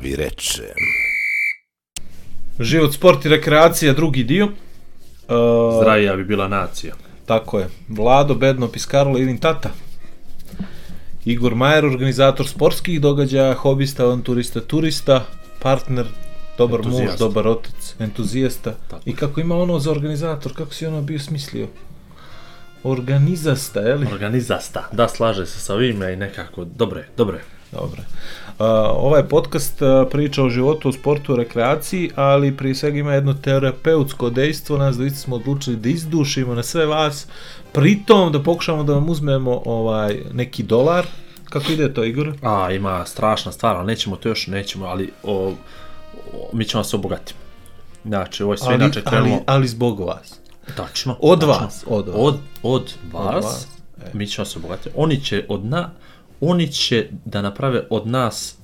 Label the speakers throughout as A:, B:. A: vi reče.
B: Život, sport i rekreacija, drugi dio. Uh,
C: Zdravija bi bila nacija.
B: Tako je. Vlado, Bedno, Piskarlo, Ilin Tata. Igor Majer, organizator sportskih događaja, hobista, avanturista, turista, partner, dobar muž,
C: Entuzijasta.
B: dobar otac, entuzijasta.
C: Tako.
B: I kako ima ono za organizator, kako si ono bio smislio? Organizasta, je li?
C: Organizasta. Da, slaže se sa ovime i nekako, dobro je, dobro je.
B: Dobro. Uh, ovaj podcast uh, priča o životu, o sportu, o rekreaciji, ali prije svega ima jedno terapeutsko dejstvo, nas dvojica smo odlučili da izdušimo na sve vas, pritom da pokušamo da vam uzmemo ovaj neki dolar, kako ide to Igor?
C: A, ima strašna stvar, ali nećemo to još, nećemo, ali o, o, mi ćemo se obogatiti. Znači, ovo je sve
B: ali,
C: inače
B: ali,
C: krenulo...
B: ali zbog vas.
C: Tačno.
B: Od
C: tačno.
B: vas, od vas.
C: Od, od vas.
B: vas, e.
C: Mi ćemo se obogatiti. Oni će od na, oni će da naprave od nas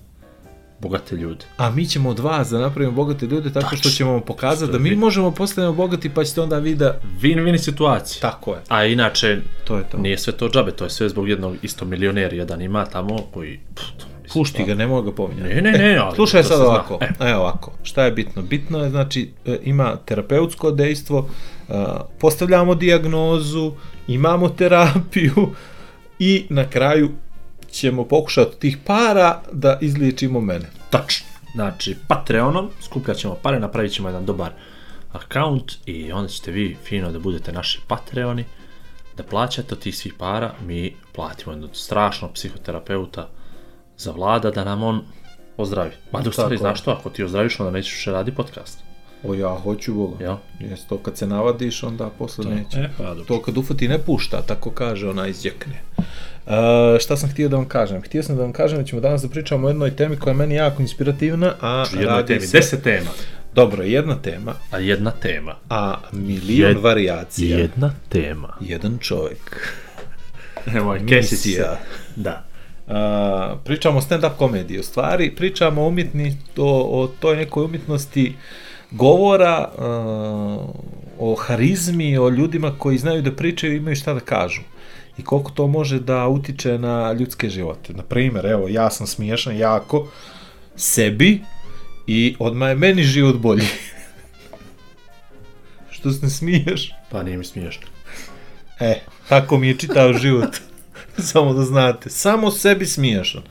C: bogate ljude.
B: A mi ćemo od vas da napravimo bogate ljude tako što
C: Tačno.
B: ćemo vam pokazati
C: Što
B: da mi
C: vi-
B: možemo postanemo bogati pa ćete onda vi da...
C: Win-win situacija.
B: Tako je,
C: A inače,
B: to je to.
C: nije sve to džabe, to je sve zbog jednog isto milioner jedan ima tamo koji... pff, to mislim,
B: Pušti ga, ne mogu ga pominjati.
C: Ne, ne, ne. Ali
B: Slušaj
C: to
B: sad
C: se zna.
B: ovako,
C: E,
B: e. evo ovako, šta je bitno? Bitno je, znači, e, ima terapeutsko dejstvo, e, postavljamo dijagnozu, imamo terapiju i na kraju ćemo pokušati od tih para da izliječimo mene.
C: tačno. Znači, Patreonom skupljat ćemo pare, napravit ćemo jedan dobar account i onda ćete vi fino da budete naši Patreoni, da plaćate od tih svih para, mi platimo jednog strašnog psihoterapeuta za vlada da nam on ozdravi. Ma da u stvari,
B: Tako.
C: znaš što, ako ti ozdraviš, onda nećeš više radi podcast.
B: O ja hoću Boga.
C: Jel?
B: Jes, to kad se navadiš, onda posle neće.
C: E, pa dobro.
B: To kad ufati ne pušta, tako kaže ona iz Đekne. Uh, šta sam htio da vam kažem? Htio sam da vam kažem da ćemo danas da pričamo o jednoj temi koja je meni jako inspirativna, a
C: Jedna
B: radi
C: temi,
B: se...
C: deset tema.
B: Dobro, jedna tema,
C: A jedna tema.
B: a milion
C: Jed-
B: variacija.
C: Jedna tema.
B: Jedan čovjek.
C: Nemoj,
B: Misija.
C: Da.
B: A, pričamo o stand-up komediji, u stvari pričamo o umjetni, o, o toj nekoj umjetnosti govora, a, o harizmi, o ljudima koji znaju da pričaju i imaju šta da kažu. I koliko to može da utiče na ljudske živote. Na primjer, evo, ja sam smiješan jako sebi i odmah je meni život bolji. Što se ne smiješ?
C: Pa nije mi smiješno.
B: E, tako mi je čitav život. Samo da znate, samo sebi smiješan.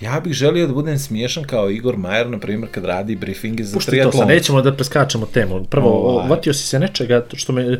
B: Ja bih želio da budem smiješan kao Igor Majer, na primjer, kad radi briefinge za
C: Pušti to sad,
B: triatlon.
C: nećemo da preskačemo temu. Prvo,
B: Ovaj.
C: ovaj. vatio si se nečega što me n-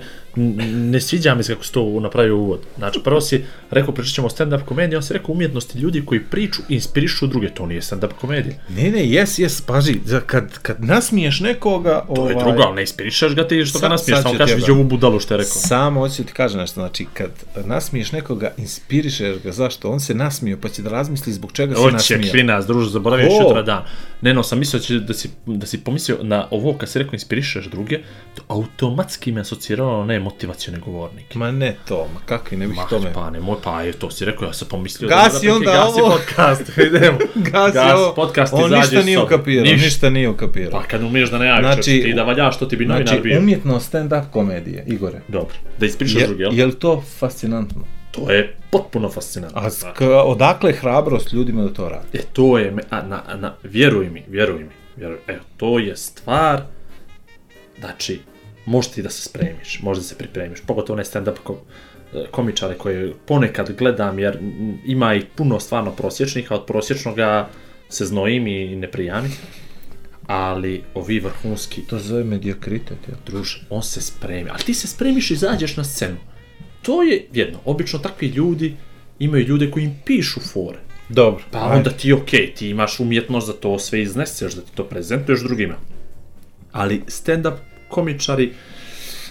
C: ne sviđa mi se kako si to napravio uvod. Znači, prvo si rekao pričat ćemo o stand-up komediji, on si rekao umjetnosti ljudi koji priču i inspirišu druge, to nije stand-up komedija.
B: Ne, ne, jes, jes, paži, za kad, kad nasmiješ nekoga... ovaj,
C: To je drugo, ali ne inspirišaš ga ti što
B: Sad-
C: ga nasmiješ,
B: sad
C: samo
B: ću
C: kažeš
B: tebe.
C: vidi ovu budalu što je rekao.
B: Samo hoću ti kažem nešto, znači kad nasmiješ nekoga, inspirišeš ga, zašto? On se nasmio, pa će da razmisli zbog čega se
C: Oće,
B: nasmio.
C: klinac, druže, zaboravio
B: Ko?
C: još jutra dan. Neno, sam mislio da će- da si, da si pomislio na ovo kad si rekao inspirišeš druge, to automatski me asociralo na ne motivacione govornike.
B: Ma ne to, ma kakvi, ne bih
C: Ma,
B: tome.
C: pa nemoj, pa je, to si rekao, ja sam pomislio
B: Gasi
C: da
B: onda
C: gasi
B: ovo.
C: podcast, idemo.
B: Gasi
C: Gas,
B: ovo,
C: podcast
B: on
C: izađe
B: ništa
C: iz
B: nije
C: sobe.
B: ukapirao,
C: Ništa.
B: ništa nije ukapirao.
C: pa kad umiješ da najaviš
B: Znači,
C: znači, ti da valjaš, to ti bi novinar
B: Znači,
C: bio.
B: umjetnost stand-up komedije, Igore.
C: Dobro, da ispričaš
B: Je,
C: drugi, jel?
B: je li to fascinantno?
C: To je potpuno fascinantno.
B: A
C: znaš.
B: sk, odakle hrabrost ljudima da to radi?
C: E, to je, me, a, na, a, na, vjeruj mi, vjeruj mi, vjeruj, evo, to je stvar, znači, možeš ti da se spremiš, možeš da se pripremiš, pogotovo ne stand-up ko, e, komičare koje ponekad gledam, jer m, ima i puno stvarno prosječnih, a od prosječnoga se znojim i ne prijami, ali ovi vrhunski,
B: To se zove mediokritet, jel?
C: druže, on se spremi, a ti se spremiš i izađeš na scenu. To je jedno, obično takvi ljudi imaju ljude koji im pišu fore,
B: Dobro.
C: pa onda ti je okej, ti imaš umjetnost da to sve izneseš, da ti to prezentuješ drugima. Ali stand-up komičari,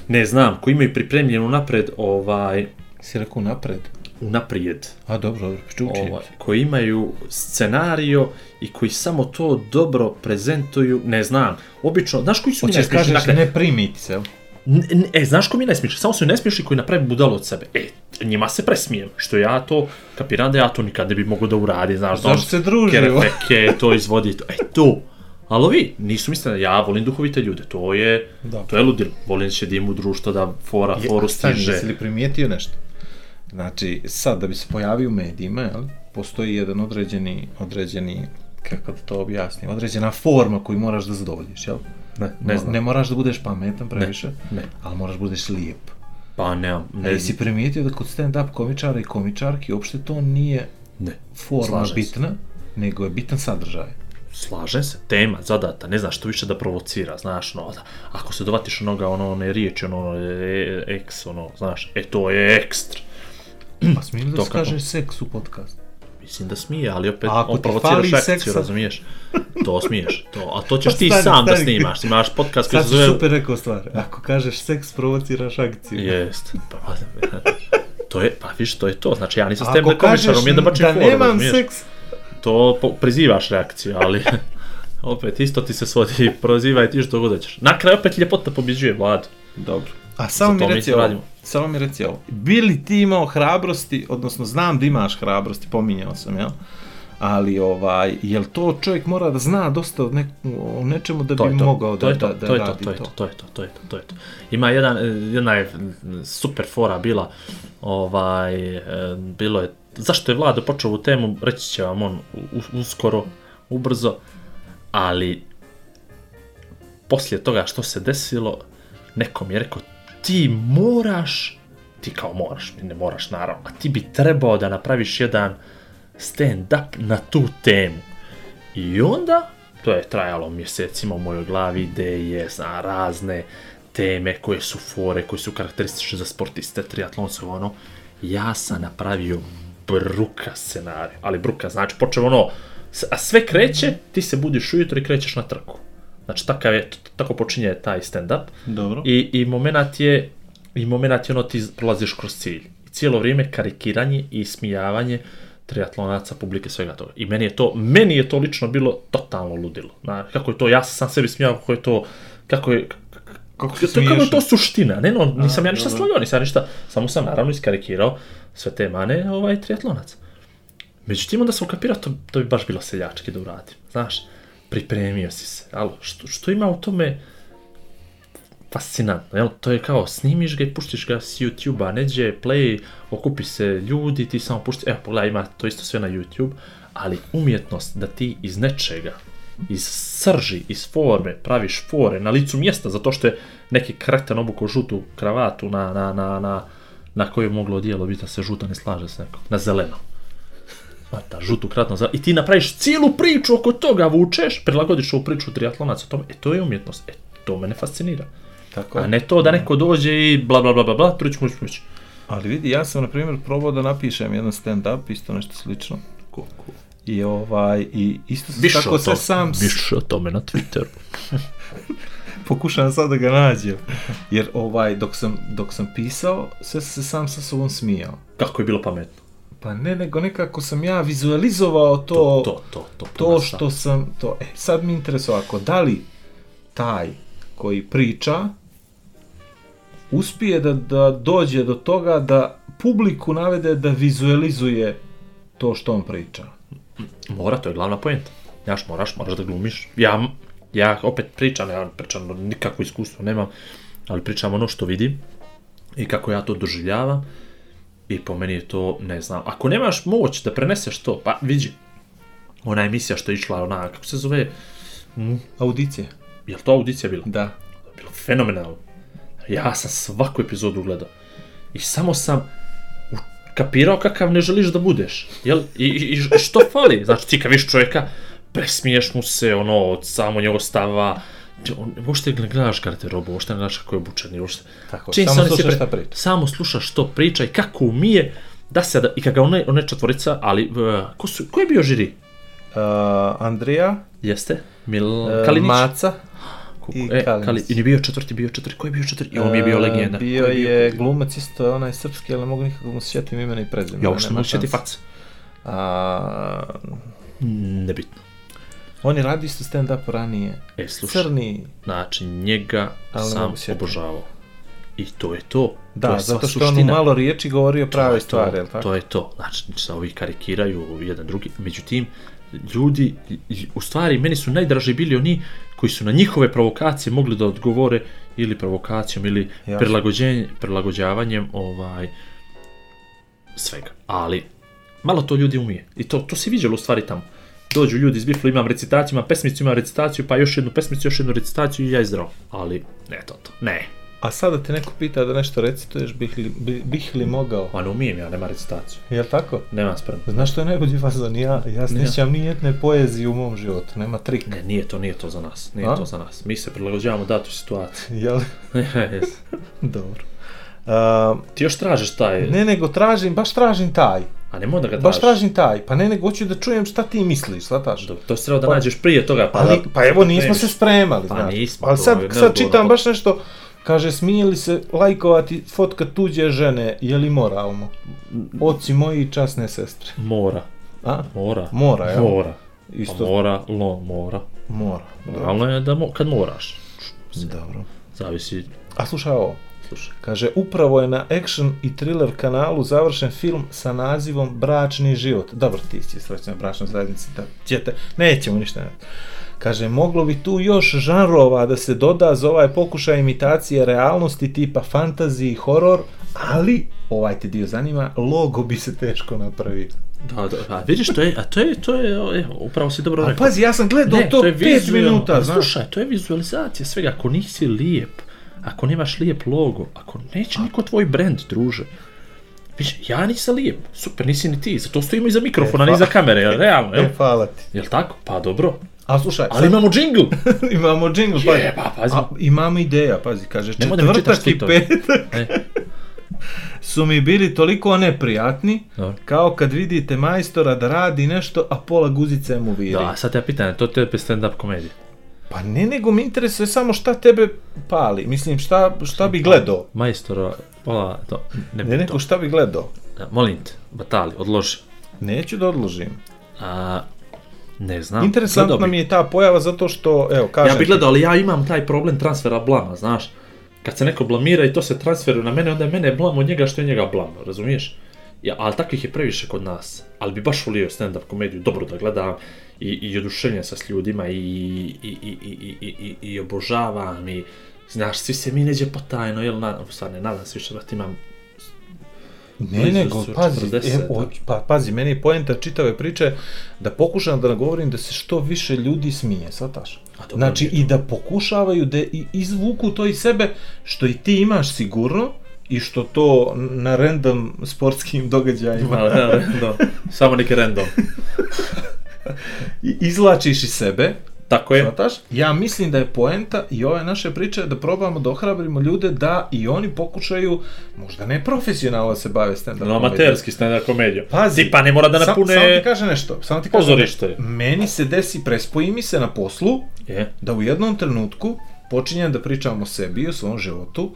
C: ne znam, koji imaju pripremljenu napred, ovaj,
B: Si rekao napred?
C: unaprijed,
B: A dobro, dobro, čuči.
C: ovaj, koji imaju scenario i koji samo to dobro prezentuju, ne znam, obično, znaš koji su mi
B: Hoćeš
C: najsmišni,
B: kažeš
C: dakle,
B: ne primiti se, jel?
C: N- n- E, znaš ko mi je najsmiješan? Samo su nesmiješni koji naprave budalu od sebe. E, njima se presmijem, što ja to, kapiram da ja to nikad ne bi mogao da uradim, znaš. da
B: Zašto
C: on
B: se družimo?
C: Kerefeke, to izvodi, to, e, to. Ali ovi nisu mislili, ja volim duhovite ljude, to je,
B: Da.
C: to je ludilo. Volim će da im u društvo da fora, foru
B: stani,
C: stiže.
B: Jesi li primijetio nešto? Znači, sad da bi se pojavio u medijima, jel? Postoji jedan određeni, određeni kako da to objasnim, određena forma koju moraš da zadovoljiš, jel?
C: Ne,
B: Mo-
C: ne znam.
B: ne moraš da budeš pametan previše,
C: ne.
B: ali moraš da budeš lijep.
C: Pa nemam,
B: Ne.
C: ne,
B: Ali si E, primijetio da kod stand-up komičara i komičarki uopšte to nije
C: ne.
B: forma
C: Slažem se.
B: bitna, nego je bitan sadržaj.
C: slažem se, tema zadata, ne znaš što više da provocira, znaš, no, da, ako se dovatiš onoga, ono, one riječi, ono, e, eks, ono, znaš, e, to je ekstra.
B: Pa smijem da
C: To
B: se
C: kako?
B: kaže seks u podcastu.
C: Mislim da smije, ali opet
B: A ako
C: on
B: ti
C: provocira
B: fali
C: sekciju,
B: seksa?
C: razumiješ? To smiješ, to, a to ćeš
B: Pa
C: ti
B: stani,
C: sam da
B: stani.
C: snimaš, snimaš podcast koji
B: Sad
C: se
B: si
C: zove...
B: super rekao stvar. Ako kažeš seks, provociraš akciju.
C: Jest, pa, pa, to je, pa viš, to je to, znači ja nisam s tem
B: Ako
C: da
B: kažeš
C: komičarom, je da bačim
B: da
C: foru,
B: nemam
C: razumiješ?
B: seks,
C: to po- prizivaš reakciju, ali opet isto ti se svodi, prozivaj ti što god hoćeš. Na kraju opet ljepota pobjeđuje vladu.
B: Dobro. A samo
C: to
B: mi
C: mi
B: reci
C: isto
B: ovo.
C: radimo.
B: Samo mi reci ovo. Bi li ti imao hrabrosti, odnosno znam da imaš hrabrosti, pominjao sam, jel? Ali ovaj, jel to čovjek mora da zna dosta o, nek, o nečemu da
C: To
B: bi
C: je to,
B: mogao
C: to
B: da,
C: je to,
B: da, da
C: to je to,
B: radi
C: to je to, to je to, to je to, to je to. Ima jedan, eh, jedna je mm, super fora bila, ovaj, eh, bilo je, zašto je Vlado počeo ovu temu, reći će vam on u- u- uskoro, ubrzo, ali poslije toga što se desilo, nekom je rekao, ti moraš, ti kao moraš, ne moraš naravno, a ti bi trebao da napraviš jedan stand-up na tu temu. I onda, to je trajalo mjesecima u mojoj glavi, ideje, zna, razne teme koje su fore, koje su karakteristične za sportiste, triatlonce, ono, ja sam napravio bruka scenarij, ali bruka, znači počeo ono, s- a sve kreće, ti se budiš ujutro i krećeš na trku. Znači, takav je, t- tako počinje taj stand-up.
B: Dobro.
C: I, i moment je, i moment je ono ti prolaziš kroz cilj. I cijelo vrijeme karikiranje i smijavanje triatlonaca, publike, svega toga. I meni je to, meni je to lično bilo totalno ludilo. Na, kako je to, ja sam sebi smijao kako je to, kako je,
B: Kako se
C: to, kako je
B: smiješ?
C: to suština, ne no, nisam
B: A,
C: ja ništa
B: dobro.
C: slagao, nisam ja ništa, samo sam naravno iskarikirao sve te mane ovaj triatlonac. Međutim, onda sam ukapirao, to, to bi baš bilo seljački da uradim, znaš, pripremio si se, alo, što, što ima u tome fascinantno, jel, to je kao, snimiš ga i puštiš ga s YouTube-a, neđe, play, okupi se ljudi, ti samo pušti, evo, pogledaj, ima to isto sve na YouTube, ali umjetnost da ti iz nečega, iz srži, iz forme, praviš fore na licu mjesta, zato što je neki karakter obukao žutu kravatu na, na, na, na, na koju je moglo odijelo biti da se žuta ne slaže s nekom, na zeleno. Svata, žutu kratno zeleno. I ti napraviš cijelu priču oko toga, vučeš, prilagodiš ovu priču triatlonaca o tome, e to je umjetnost, e to mene fascinira.
B: Tako.
C: A ne to da neko dođe i bla bla bla bla bla, truć muć muć.
B: Ali vidi, ja sam, na primjer, probao da napišem jedan stand-up, isto nešto slično. I ovaj, i isto sam tako sve sam s-
C: Više o tome na Twitteru.
B: pokušavam sad da ga nađem. Jer ovaj, dok sam, dok sam pisao, sve sam se sam sa sobom smijao.
C: Kako je bilo pametno.
B: Pa ne, nego nekako sam ja vizualizovao to,
C: To, to, to.
B: to što sam, to, e, sad mi interesuje ako da li taj koji priča uspije da, da dođe do toga da publiku navede da vizualizuje to što on priča.
C: Mora, to je glavna poenta. Jaš, moraš, moraš da glumiš. Ja, ja opet pričam, ja pričam, nikakvo iskustvo nemam, ali pričam ono što vidim i kako ja to doživljavam. I po meni je to, ne znam, ako nemaš moć da preneseš to, pa vidi, ona emisija što je išla, ona, kako se zove,
B: Audicije?
C: je to audicija bila?
B: Da.
C: Pa bilo fenomenalno. Ja sam svaku epizodu gledao. I samo sam u- kapirao kakav ne želiš da budeš. Jel? I, i, i što fali? Znači ti kad viš čovjeka, presmiješ mu se, ono, od samo njegov stava, ti- on, uopšte ne gledaš garderobu, uopšte ne gledaš kako je obučen, i uopšte...
B: Tako,
C: Čim
B: samo
C: se oni
B: slušaš
C: pre-
B: šta priča.
C: Samo slušaš što priča i kako umije, da se, da, i kad ga one, one četvorica, ali, uh, ko, su, ko je bio žiri?
B: Uh, Andrija,
C: Jeste? Mil...
B: e,
C: Kalinić?
B: Maca, i
C: I, e,
B: Kalinić.
C: Kali, I bio je četvrti, bio je četvrti, ko je bio četvrti? I on mi je bio
B: E,
C: legenda.
B: Bio
C: Ko je
B: je glumac isto onaj srpski, ali ne mogu nikako mu se sjetim imena i prezimena.
C: Ja uopšte ne
B: nema
C: mogu sjeti
B: šanse.
C: fac.
B: A,
C: Nebitno.
B: on je radio isto stand-up ranije.
C: E, slušaj,
B: Crni,
C: znači njega
B: Ali ne
C: sam
B: mogu sjetit.
C: obožavao. I to je to. to
B: da,
C: je sva
B: zato što on u
C: suština.
B: malo riječi govorio prave
C: To-
B: stvari, jel tako?
C: To je to. Znači, sa ovi karikiraju jedan drugi. Međutim, ljudi, i- u stvari, meni su najdraži bili oni koji su na njihove provokacije mogli da odgovore ili provokacijom ili
B: Jasno.
C: prilagođenjem, prilagođavanjem ovaj svega. Ali, malo to ljudi umije. I to, to se viđalo u stvari tamo. dođu ljudi iz Bifla, imam recitaciju, imam pesmicu, imam recitaciju, pa još jednu pesmicu, još jednu recitaciju i ja je zdrav. Ali, ne to to, ne.
B: A sada te neko pita da nešto recituješ, bih li, bi- bih li mogao?
C: Pa ne umijem ja, nema recitaciju.
B: Jel tako?
C: Nema sprem.
B: Znaš što je najbolji fazon? Ja, ja snećam ni jedne poezije u mom životu, nema trik.
C: Ne, nije to, nije to za nas, nije
B: A?
C: to za nas. Mi se prilagođavamo datu situaciji.
B: Jel?
C: Yes.
B: Dobro. A,
C: Ti još tražiš taj,
B: ne, nego tražim, baš tražim taj.
C: a nemoj da ga E. tražiš.
B: Baš tražim taj. Pa ne, nego hoću da čujem šta ti misliš, shvataš?
C: Dobro, To si trebao da nađeš prije toga, pa
B: Ali,
C: da-
B: pa evo, nismo
C: Nemaš.
B: se spremali,
C: Pa
B: znaš.
C: nismo,
B: Ali
C: to
B: sad,
C: je
B: sad
C: neodgovorno
B: čitam
C: pot-
B: baš nešto, kaže, smije li se lajkovati fotka tuđe žene, je li moralno? Oci moji časne sestre.
C: Mora,
B: A?
C: mora.
B: Mora, jel?
C: Mora.
B: Isto-
C: Isto. Pa Mora, lo, mora.
B: Mora. Dobro.
C: Realno je da mo, kad moraš.
B: Dobro.
C: Zavisi,
B: A slušaj ovo.
C: slušaj.
B: Kaže, upravo je na action i thriller kanalu završen film sa nazivom Bračni život. Dobro, ti si srećna bračna zajednica, da ćete, nećemo ništa. Ne. Kaže, moglo bi tu još žanrova da se doda za ovaj pokušaj imitacije realnosti tipa fantaziji i horor, ali, ovaj ti dio zanima, logo bi se teško napravio.
C: Da, da, a vidiš, to je, a to je, to je, o, evo, upravo si dobro
B: A
C: rekao.
B: pazi, ja sam gledao to, to 5
C: vizuelno,
B: minuta,
C: ali
B: znaš.
C: Pa Slušaj, to je vizualizacija svega, ako nisi lijep, ako nemaš lijep logo, ako neće niko tvoj brand, druže. Viš, ja nisam lijep, super, nisi ni ti, zato stojimo iza mikrofona, ni iza kamere, jel, realno, jel?
B: E, hvala ti.
C: Jel tako? Pa dobro.
B: A slušaj,
C: Ali imamo džingl!
B: sad imamo džingl, pazi.
C: Jeba, pa, pazi.
B: A, imam ideja, pazi, kaže,
C: Nemoj da mi čitaš
B: četvrtak i
C: tweetove.
B: petak
C: E,
B: su mi bili toliko neprijatni,
C: Dobro.
B: kao kad vidite majstora da radi nešto, a pola guzice mu viri.
C: da, sad ja pitan, to ti je opet stand-up komedija.
B: Pa ne, nego mi interesuje samo šta tebe pali. Mislim, šta, šta bi gledao?
C: Majstora, pola, to, ne,
B: Ne,
C: ne,
B: neko šta bi gledao?
C: molim te, batali, odloži.
B: Neću da odložim.
C: A, ne znam. gledao
B: Interesantna
C: bi.
B: mi je ta pojava zato što, evo, kažem
C: Ja bih gledao, ali ja imam taj problem transfera blama, znaš. Kad se neko blamira i to se transferuje na mene, onda je mene blam od njega što je njega blam, razumiješ? Ja, ali takvih je previše kod nas. Ali bi baš volio stand-up komediju, dobro da gledam i, i oduševljen sam s ljudima i, i, i, i, i, i, i, i obožavam i znaš, svi se mi neđe potajno, jel, na, u stvari ne nadam se više, brate, imam
B: Ne,
C: Blizu
B: nego,
C: su
B: pazi,
C: 40,
B: e, o,
C: da.
B: pa, pazi, meni je poenta čitave priče da pokušam da nagovorim da se što više ljudi smije, sataš.
C: A dobro,
B: Znači,
C: nije
B: i da pokušavaju da i izvuku to iz sebe, što i ti imaš sigurno, i što to na random sportskim događajima
C: malo random, samo neki random.
B: i- izvlačiš iz sebe,
C: Tako je.
B: Svataš? Ja mislim da je poenta i ove naše priče da probamo da ohrabrimo ljude da i oni pokušaju, možda ne profesionalno da se bave stand-up.
C: No, amaterski stand-up komedija.
B: Pazi,
C: pa ne mora da napune...
B: Sam, samo ti kaže nešto. Samo ti kaže
C: Pozorište.
B: nešto. Meni se desi, prespoji mi se na poslu,
C: Je.
B: da u jednom trenutku počinjem da pričam o sebi i o svom životu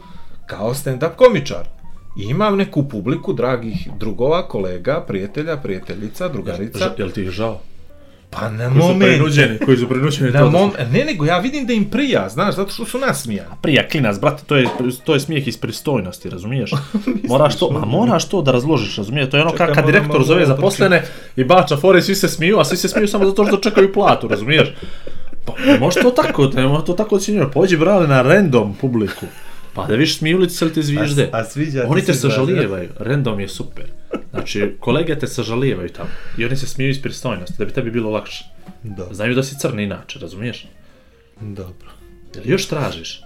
B: kao stand-up komičar. I imam neku publiku dragih drugova, kolega, prijatelja, prijateljica, drugarica.
C: Ža- Jel ti je žao?
B: Pa na
C: Koji su
B: moment,
C: prinuđeni, koji su prinuđeni
B: na
C: to da
B: mom,
C: su-
B: ne nego ja vidim da im prija, znaš, zato što su nasmijani.
C: Prija, klinac, brate, to je, to je smijeh iz pristojnosti, razumiješ? moraš to, a moraš to da razložiš, razumiješ? To je ono
B: ono- Čekaj,
C: kad, kad
B: moram-
C: direktor
B: moram
C: zove
B: malo
C: zaposlene i bača fore, i svi se smiju, a svi se smiju samo zato što čekaju platu, razumiješ? Pa ne može to tako, ne može to tako ocjenjivati. Pođi, brale, na random publiku. Pa da viš smiju li ti se li ti zvižde?
B: A sviđa ti
C: Oni te
B: se da, ne?
C: sažalijevaju, random je super. Znači, kolege te sažalijevaju tamo i oni se smiju iz pristojnosti, da bi tebi bilo lakše.
B: Da,
C: Znaju da si crni inače, razumiješ?
B: dobro.
C: Jel još tražiš?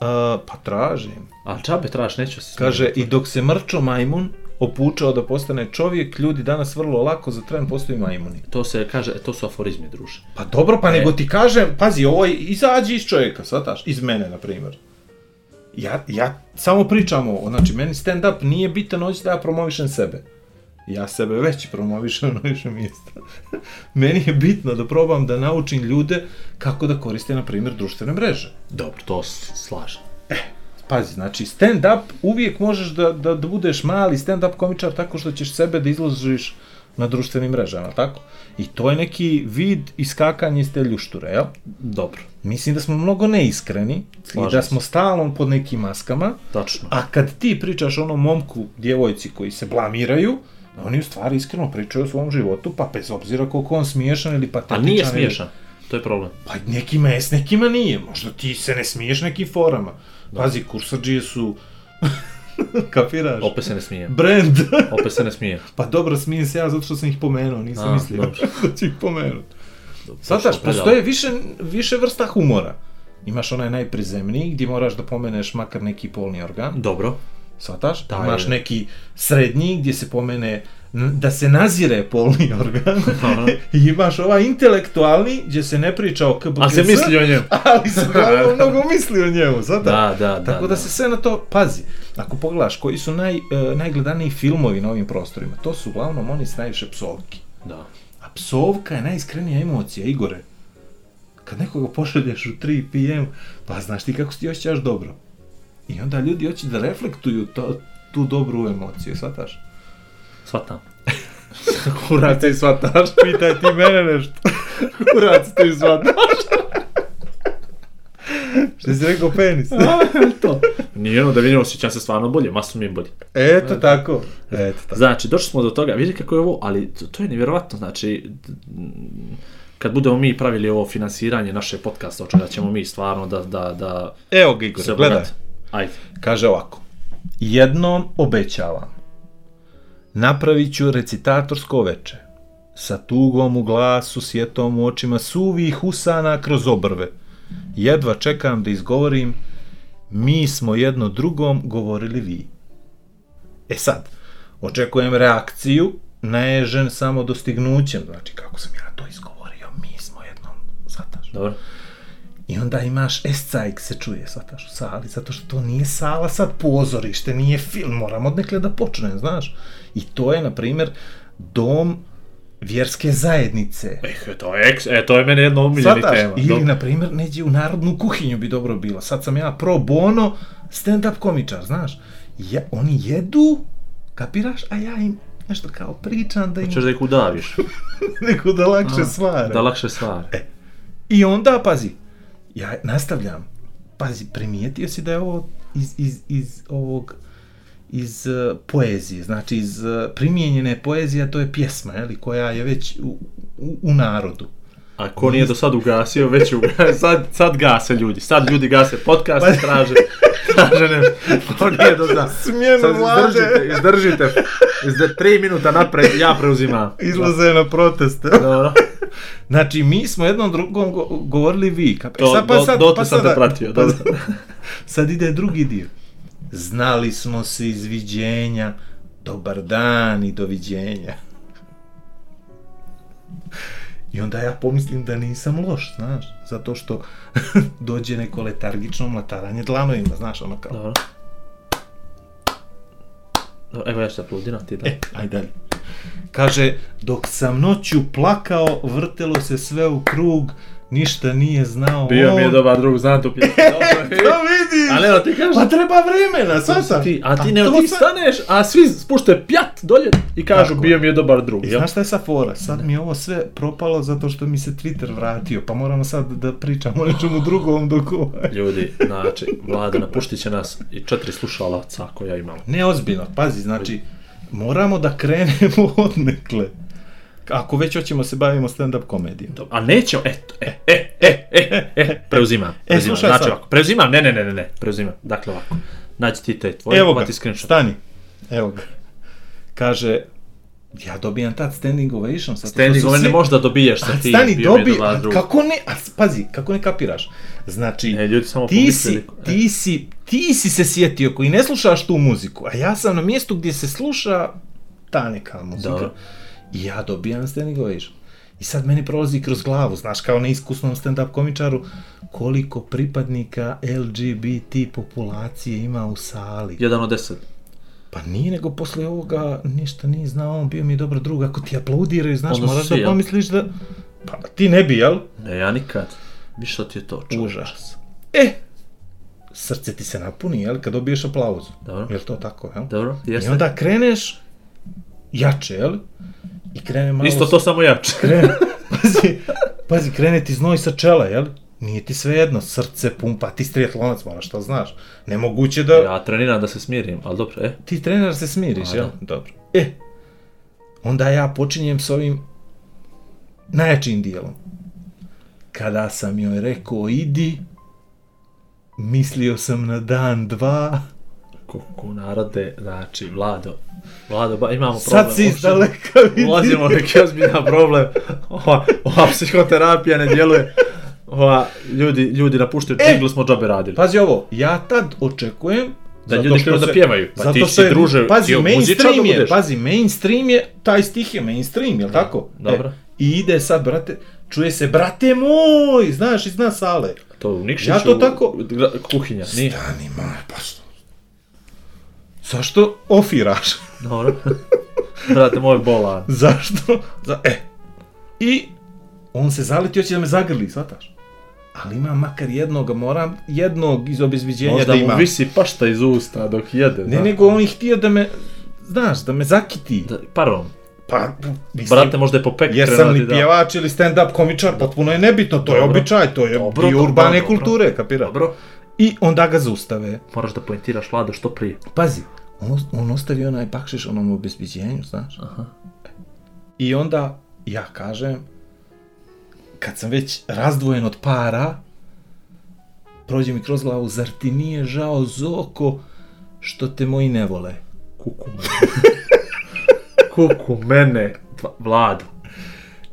B: A, pa tražim.
C: A čabe tražiš, neću se smijeti.
B: Kaže, i dok se mrčo majmun opučao da postane čovjek, ljudi danas vrlo lako za tren postaju majmuni.
C: To se kaže, e, to su aforizmi, druže.
B: Pa dobro, pa nego ti kažem, pazi, ovo je, izađi iz čovjeka, shvataš, iz mene, na primjer. Ja, ja samo pričam ovo, znači, meni stand-up nije bitan, hoće da ja promovišem sebe. Ja sebe već promovišem na više mjesta. meni je bitno da probam da naučim ljude kako da koriste, na primjer, društvene mreže.
C: Dobro, to s- slažem.
B: Pazi, znači stand-up uvijek možeš da, da, da budeš mali stand-up komičar tako što ćeš sebe da izložiš na društvenim mrežama, tako? I to je neki vid iskakanja iz te ljušture, jel?
C: Dobro,
B: Mislim da smo mnogo neiskreni i
C: Slažem
B: da
C: se.
B: smo stalno pod nekim maskama,
C: tačno.
B: a kad ti pričaš onom momku, djevojci koji se blamiraju, oni u stvari iskreno pričaju o svom životu, pa bez obzira koliko on smiješan ili
C: A
B: patetičan.
C: nije
B: ili-
C: smiješan, to je problem.
B: Pa nekima je, s nekima nije. Možda ti se ne smiješ nekim forama. Pazi, kursarđije su... Kapiraš?
C: Opet se ne smijem,
B: Brand.
C: opet se ne smijem.
B: pa dobro, smijem se ja zato što sam ih pomenuo, nisam
C: A,
B: mislio
C: dobro.
B: da ću ih pomenuti. Svataš, postoje više, više vrsta humora. Imaš onaj najprizemniji gdje moraš da pomeneš makar neki polni organ,
C: Dobro.
B: svataš?
C: Da,
B: Imaš
C: je.
B: neki srednji gdje se pomene n- da se nazire polni organ
C: Aha.
B: i imaš ovaj intelektualni gdje se ne priča o KBGS,
C: A se misli o njemu.
B: ali se mnogo, mnogo misli o njemu, svataš?
C: Da, da, da.
B: Tako da, se sve na to pazi. Ako pogledaš koji su naj, e, najgledaniji filmovi na ovim prostorima, to su uglavnom oni s najviše psovki.
C: Da.
B: A psovka je najiskrenija emocija, Igore. Kad nekoga pošalješ u 3 p.m., pa znaš ti kako se ti osjećaš dobro. I onda ljudi hoće da reflektuju to, tu dobru emociju, shvataš?
C: Svatam.
B: Kurac ti shvataš, pitaj ti mene nešto. Kurac ti shvataš. Što si rekao penis?
C: to. Nije ono da vidimo, osjećam se stvarno bolje, masu mi je bolje.
B: Eto tako. Eto tako.
C: Znači, došli smo do toga, vidi kako je ovo, ali to, to je nevjerovatno, znači, d- m, kad budemo mi pravili ovo finansiranje naše podcasta, očekaj da ćemo mi stvarno da, da, da
B: Evo ga Igor,
C: se
B: gledaj.
C: obogati. Ajde.
B: Kaže ovako. Jednom obećavam. Napravit ću recitatorsko veče. Sa tugom u glasu, sjetom u očima, suvih usana kroz obrve. Jedva čekam da izgovorim mi smo jedno drugom govorili vi. E sad, očekujem reakciju, naježen samo dostignućem, znači kako sam ja to izgovorio, mi smo jednom, shvataš?
C: Dobro.
B: I onda imaš escajk se čuje, shvataš, u sali, zato što to nije sala sad pozorište, nije film, moram odnekle da počnem, znaš. I to je, na primjer, dom vjerske zajednice.
C: Eh, to je, eks- e, to je mene jedna omiljeni
B: Svataš,
C: tema.
B: ili,
C: Dobro.
B: na primjer, neđe u narodnu kuhinju bi dobro bilo. Sad sam ja pro bono stand-up komičar, znaš. Ja, oni jedu, kapiraš, a ja im nešto kao pričam da im
C: Češ Pa da ih udaviš,
B: neko da lakše svare.
C: da lakše stvari.
B: I onda, pazi, ja nastavljam. Pazi, primijetio si da je ovo iz, iz, iz ovog iz uh, poezije, znači iz uh, primijenjene poezije, a to je pjesma, je li, koja je već u, u, u narodu.
C: A ko nije do sad ugasio, već je ugasio, sad, sad gase ljudi, sad ljudi gase podcast i traže, traže nešto. Ko Pa- nije do sad.
B: Smjenu
C: Sad izdržite, izdržite, izde, tri minuta napred, ja preuzimam.
B: izlaze na proteste.
C: Dobro.
B: Znači, mi smo jednom drugom go govorili vi. Kap...
C: To,
B: sad, pa
C: do-
B: sad,
C: dotle
B: pa
C: sam te
B: sada-
C: pratio,
B: pa
C: dobro.
B: sad- sad ide drugi dio. Znali smo se izviđenja, dobar dan i doviđenja. I onda ja pomislim da nisam loš, znaš, zato što dođe neko letargično mlataranje dlanovima, znaš, ono kao,
C: Dobro. Dobro, Evo ja ću te aplaudiram, ti da.
B: E, ajde dalje. Kaže, dok sam noću plakao, vrtelo se sve u krug, ništa nije znao
C: Bio
B: on.
C: mi je dobar drug, znam tu pjesmu.
B: To vidiš!
C: e, Ali evo ti kažem.
B: Pa treba vremena, svata.
C: Ti, a ti
B: Pa
C: ne,
B: to
C: ti
B: sad-
C: staneš, a svi spušte pjat dolje i kažu
B: Tako.
C: bio mi je dobar drug.
B: I
C: jel?
B: znaš šta je sa fora? Sad mi je ovo sve propalo zato što mi se Twitter vratio, pa moramo sad da pričamo o nečemu drugom dok ovaj- ovo...
C: Ljudi, znači, vlada napuštit će nas i četiri slušalaca koja imam.
B: Ne, ozbiljno, pazi, znači, moramo da krenemo odnekle. Ako već hoćemo se bavimo stand-up komedijom.
C: Dobro, a neće, e, e, e, e, e, e, preuzimam, preuzimam,
B: slušaj
C: znači
B: sad.
C: ovako, preuzimam, ne, ne, ne, ne, ne, preuzimam, dakle ovako, nađi ti te tvoje,
B: Evo
C: pa
B: ga,
C: ti screenshot.
B: stani. Evo ga. Kaže, ja dobijam tad standing ovation. Sad
C: Standing ovdje Ono ne možda dobiješ sa
B: A
C: tim,
B: stani,
C: bio mi je
B: dobi,
C: dobar
B: a
C: drug.
B: kako ne, a s- pazi, kako ne kapiraš? Znači,
C: E, ljudi samo
B: ti si,
C: pomislili. e.
B: ti si, ti si se sjetio koji ne slušaš tu muziku, a ja sam na mjestu gdje se sluša ta neka muzika.
C: Dobro.
B: I ja dobijam standing ovation. I sad meni prolazi kroz glavu, znaš, kao neiskusnom stand-up komičaru, koliko pripadnika LGBT populacije ima u sali.
C: Jedan od deset.
B: Pa nije, nego posle ovoga ništa nije znao, on bio mi je dobar drug, ako ti aplaudiraju, znaš,
C: Onda su
B: moraš
C: svi,
B: da
C: jel?
B: pomisliš da... Pa ti ne bi, jel?
C: Ne, ja nikad. Viš što ti je to, čovječ.
B: Užas. E, srce ti se napuni, jel, kad dobiješ aplauz.
C: Dobro.
B: Jel to tako, jel?
C: Dobro,
B: I
C: jeste.
B: onda kreneš jače, jel? I krene malo...
C: Isto to samo jače.
B: Krene, pazi, pazi, krene ti znoj sa čela, jel? Nije ti svejedno, srce pumpa, ti strijetlonac moraš, to znaš. Nemoguće da...
C: Ja treniram da se smirim, ali dobro, e,
B: Ti trener se smiriš,
C: A,
B: jel?
C: da.
B: Dobro. E, onda ja počinjem s ovim najjačim dijelom. Kada sam joj rekao idi, mislio sam na dan dva,
C: kuku narode, znači Vlado, Vlado, ba, imamo problem.
B: Sad si iz
C: uopšte-
B: daleka vidi.
C: Ulazimo u neki ozbiljan problem. Ova, ova psihoterapija ne djeluje. Ova, ljudi, ljudi napuštaju
B: E!
C: činglu, smo džabe radili.
B: Pazi ovo, ja tad očekujem
C: Da
B: zato
C: ljudi
B: što
C: krenu da
B: se-
C: pjevaju. Pa
B: zato
C: ti
B: što
C: si,
B: je-
C: druže,
B: pazi,
C: ti od muzičara
B: mainstream
C: da
B: je,
C: budeš.
B: pazi, mainstream je, taj stih je mainstream, jel tako?
C: dobro.
B: E, I ide sad, brate, čuje se, brate moj, znaš, iz nas sale.
C: To u Nikšiću,
B: Ja to tako-
C: gra- kuhinja, nije.
B: Stani, moj, pa što? Zašto ofiraš?
C: Dobro. Brate, moj bolan.
B: Zašto? Za, e. I on se zaleti, hoće da me zagrli, shvataš? Ali imam makar jednog, moram jednog iz obezbiđenja
C: Možda
B: da
C: mu
B: imam.
C: visi pašta iz usta dok jede.
B: Ne,
C: znaš.
B: nego on je htio da me, znaš, da me zakiti.
C: Da, parom.
B: Pa, mislim,
C: Brate, možda je popek
B: jesam
C: krenuo ti
B: li pjevač ili stand-up komičar, potpuno je nebitno, to je
C: Dobro.
B: običaj, to je
C: Dobro,
B: dio
C: dobro,
B: urbane
C: dobro.
B: kulture, kapira?
C: Dobro,
B: I onda ga zaustave.
C: moraš da poentiraš Vlado što prije.
B: Pazi, on, os- on ostavi onaj bakšiš onom obezbiđenju, znaš.
C: Aha.
B: I onda ja kažem, kad sam već razdvojen od para, prođe mi kroz glavu, zar ti nije žao zoko što te moji ne vole?
C: Kuku mene. Kuku mene. Tva- Vlado.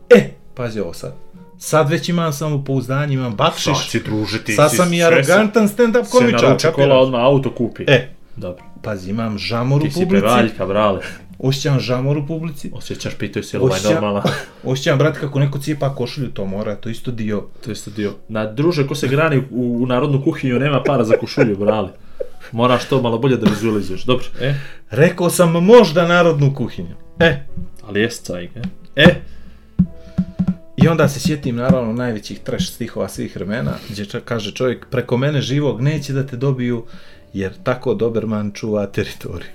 B: E, pazi ovo sad. Sad već imam samo pouzdanje, imam
C: Šta
B: bakšiš.
C: si druže ti?
B: Sad
C: si
B: sam i
C: sve sa-
B: arogantan stand-up
C: Se
B: komičar.
C: naruči kola,
B: kapiraš?
C: odmah auto kupi.
B: E,
C: Dobro.
B: pazi, imam žamor u
C: Ti si
B: publici.
C: pevaljka, brale.
B: Osjećam žamor u publici.
C: Osjećaš, pitaju se, je li ovaj
B: Osjećam-
C: normalna?
B: Osjećam, brate, kako neko cijepa košulju, to mora, to je isto dio.
C: To je isto dio. Na druže, ko se grani u, u narodnu kuhinju, nema para za košulju, brale. Moraš to malo bolje da vizualizuješ. Dobro. E,
B: Rekao sam možda narodnu kuhinju. E,
C: ali jest cajk, e? E,
B: I onda se sjetim naravno najvećih trash stihova svih vremena, gdje čak kaže čovjek preko mene živog neće da te dobiju jer tako Doberman čuva teritoriju.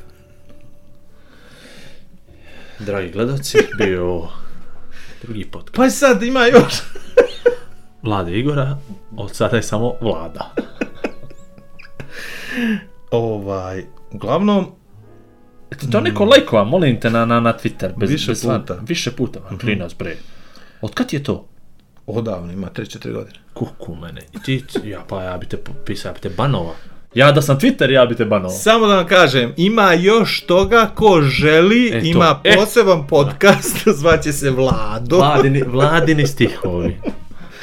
C: dragi gledalci, bio je ovo drugi podcast.
B: Pa i sad ima još.
C: Vlade Igora, od sada je samo vlada.
B: Ovaj, uglavnom,
C: Eto, to neko lajkova, molim te, na, na, na Twitter. Bez,
B: Više
C: bez lan-
B: puta.
C: Više puta, Mhm. man, klinac, bre. Od kad je to?
B: odavno ima 3-4 godine.
C: Kuku mene. I ti, ti- ja, pa ja bi te pisao, ja bi te banova. Ja da sam Twitter, ja bi te banova.
B: Samo da vam kažem, ima još toga ko želi,
C: E, to.
B: ima
C: E.
B: poseban podcast, zvaće se Vlado.
C: Vladini, vladini stihovi.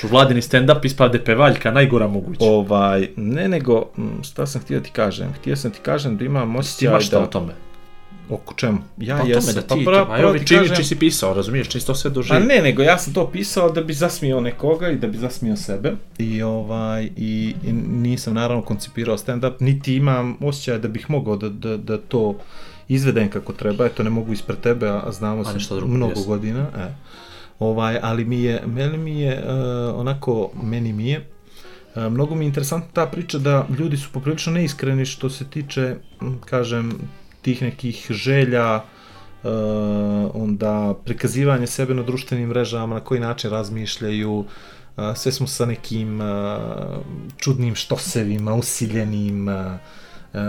C: Ču vladini stand-up ispade pevaljka, najgora moguća. O,
B: Ovaj, ne nego, mm, šta sam htio ti kažem? Htio sam ti kažem da imam
C: ti
B: osjećaj
C: imaš šta o
B: da...
C: tome?
B: Oko čemu? Ja
C: Pa o tome
B: jesam.
C: da ti,
B: pra-
C: pa, pa,
B: pravo
C: ovi
B: ti
C: čini
B: kažem-
C: čiji si pisao, razumiješ, čini si to sve
B: Pa
C: doživio.
B: ne, nego ja sam to pisao da bi zasmio nekoga i da bi zasmio sebe. I ovaj i, i nisam naravno koncipirao stand-up, niti imam osjećaj da bih mogao da, da, da to izvedem kako treba. Eto, ne mogu ispred tebe, a a znamo se
C: ništa drugo,
B: mnogo
C: jesam.
B: godina. E. Ovaj, ali mi je, meni mi je, uh, onako, meni mi je, E, Mnogo mi je interesantna ta priča da ljudi su poprilično neiskreni što se tiče, m, kažem, tih nekih želja, e, onda prikazivanje sebe na društvenim mrežama, na koji način razmišljaju, e, sve smo sa nekim e, čudnim štosevima, usiljenim, e, e,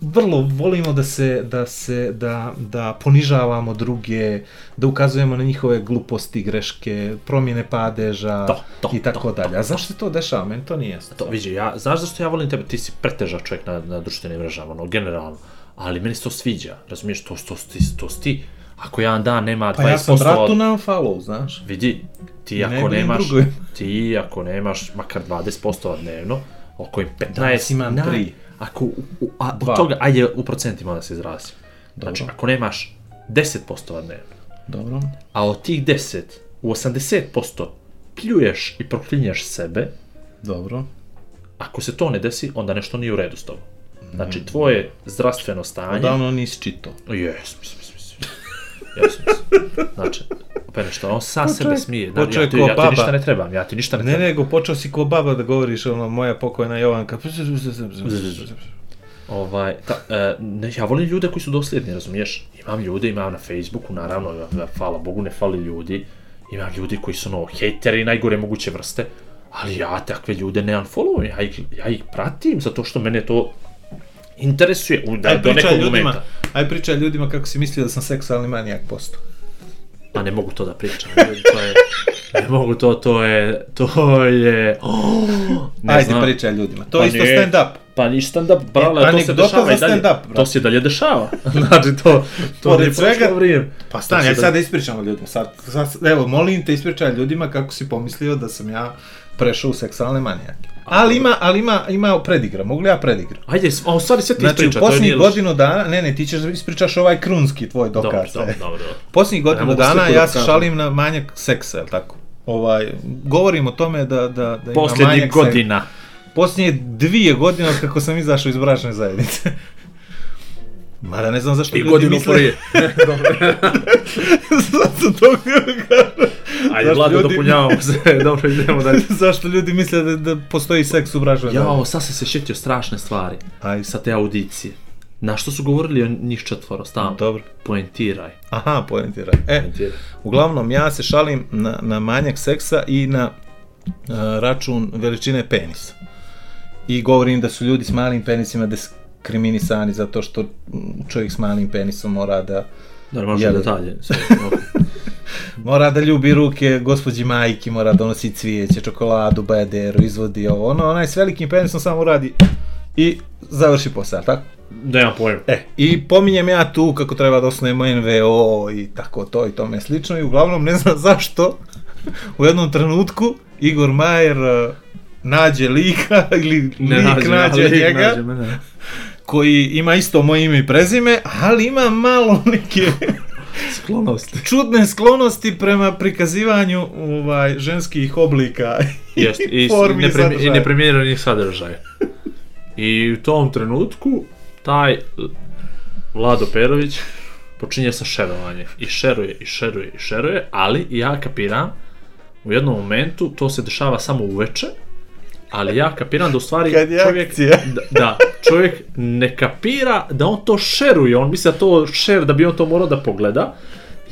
B: vrlo volimo da se, da se, da, da ponižavamo druge, da ukazujemo na njihove gluposti, greške, promjene padeža
C: To, to,
B: i tako
C: to,
B: dalje. A zašto se to dešava? Meni to nije jasno.
C: To, vidi, ja, znaš zašto ja volim tebe, ti si pretežak čovjek na, na društvenim mrežama, ono, generalno. Ali meni se to sviđa, razumiješ, to, to, to, to si ti. Ako jedan dan nema 20%
B: Pa ja sam bratu
C: od-
B: na unfollow, znaš.
C: Vidi, ti
B: Ne
C: ako
B: vidim
C: nemaš,
B: drugo.
C: ti ako nemaš makar 20% dnevno, oko im 15,
B: Danas imam
C: naj-
B: tri.
C: Ako, u, u, a,
B: Dva.
C: od toga, ajde u procentima da se izrazim. Znači,
B: Dobro.
C: ako nemaš 10% dnevno,
B: Dobro.
C: a od tih 10, u 80% pljuješ i proklinješ sebe,
B: Dobro.
C: ako se to ne desi, onda nešto nije u redu s tobom. Znači, tvoje zdravstveno stanje...
B: Odavno nisi čitao.
C: Jes, mislim, mislim, mislim. Jes, mislim. Znači, opet nešto, on sa sebe smije. Znači,
B: počeo
C: ja
B: je
C: ti,
B: ko
C: ja ti ništa
B: baba.
C: ne trebam, ja ti ništa ne,
B: Ne,
C: trebam.
B: nego počeo si ko baba da govoriš, ono, moja pokojna Jovanka.
C: Ovaj, ta, e, ne, ja volim ljude koji su dosljedni, razumiješ? Imam ljude, imam na Facebooku, naravno, ja- ja, hvala Bogu, ne fali ljudi. Imam ljudi koji su, no, hejteri najgore moguće vrste, ali ja takve ljude ne unfollowujem, ja ih, ja ih pratim zato što mene to interesuje u, da,
B: Aj
C: do
B: pričaj
C: nekog
B: ljudima,
C: momenta.
B: aj pričaj ljudima kako si mislio da sam seksualni manijak posto.
C: A Pa ne mogu to da pričam, ljudi, to je, ne mogu to, to je, to je, oh, ne
B: Ajde,
C: znam.
B: pričaj ljudima. To
C: Pa
B: je isto E,
C: nije.
B: stand up.
C: Pa ni stand-up, brale, to se
B: anegdota
C: dešava
B: za
C: i dalje.
B: stand-up, brate.
C: To se i dalje dešava. znači, to, to
B: Pored
C: nije prošlo
B: svega-
C: vrijeme.
B: Pa stan,
C: To
B: ja
C: se
B: sad da ispričam ljudima. Sad, sad, evo, molim te ispričaj ljudima kako si pomislio da sam ja prešao u seksualne manijake. Ali ima, ali ima, ima predigra, mogu li ja predigra?
C: Ajde, s- a u stvari sve ti
B: Znači,
C: ispriča,
B: u
C: to je
B: posljednjih
C: nije loše.
B: godinu dana, ne, ne, ti ćeš da ispričaš ovaj krunski tvoj dokaz.
C: Dobro,
B: e.
C: dobro, dobro. dobro.
B: Posljednjih
C: Ne
B: godinu
C: mogu sliku
B: dana
C: da
B: ja se
C: pokažem.
B: šalim na manjak seksa, je li tako? Ovaj, govorim o tome da, da, da ima
C: Posljednjih
B: manjak seksa.
C: godina.
B: Posljednje dvije godine od kako sam izašao iz bračne zajednice. Mada ne znam zašto
C: I
B: ljudi
C: godinu
B: misle-
C: prije. dobro.
B: Zato to kažem.
C: Ajde,
B: Zašto
C: Vlado,
B: ljudi-
C: dopunjavamo se. dobro, idemo dalje.
B: Zašto ljudi misle da, da postoji seks u bračnoj
C: Jao, sad sam se sjetio strašne stvari
B: Aj,
C: sa te audicije. Na što su govorili o njih četvoro stalno?
B: Dobro.
C: Poentiraj.
B: Aha, poentira. E,
C: Poentiraj.
B: uglavnom ja se šalim na, na manjak seksa i na e, račun veličine penisa. I govorim da su ljudi s malim penisima diskriminisani zato što mm, čovjek s malim penisom mora da
C: Dobro, možeš
B: Jeli.
C: detalje. Sve, ok.
B: mora da ljubi ruke gospođi majki, mora da nosi cvijeće, čokoladu, bajaderu, izvodi ovo, ono, onaj s velikim penisom samo radi i završi posao, tako?
C: Nemam pojma.
B: E, i pominjem ja tu kako treba da osnujemo NVO i tako to i tome slično i uglavnom ne znam zašto u jednom trenutku Igor Majer e, nađe lika ili lik
C: nađem,
B: nađe
C: ali
B: njega
C: nađe mene.
B: koji ima isto moje ime i prezime, ali ima malo neke
C: Sklonost.
B: čudne sklonosti prema prikazivanju ovaj ženskih oblika.
C: Jest, i,
B: formi i
C: nepremi, i
B: sadržaja.
C: nepremjernih sadržaja. I u tom trenutku taj eh, Vlado Perović počinje sa šerovanjem. I šeruje, i šeruje, i šeruje, ali ja kapiram u jednom momentu, to se dešava samo uveče, ali ja kapiram da u stvari
B: Kad je
C: čovjek,
B: akcija.
C: da, da, čovjek ne kapira da on to šeruje, on misli da to šer, da bi on to morao da pogleda,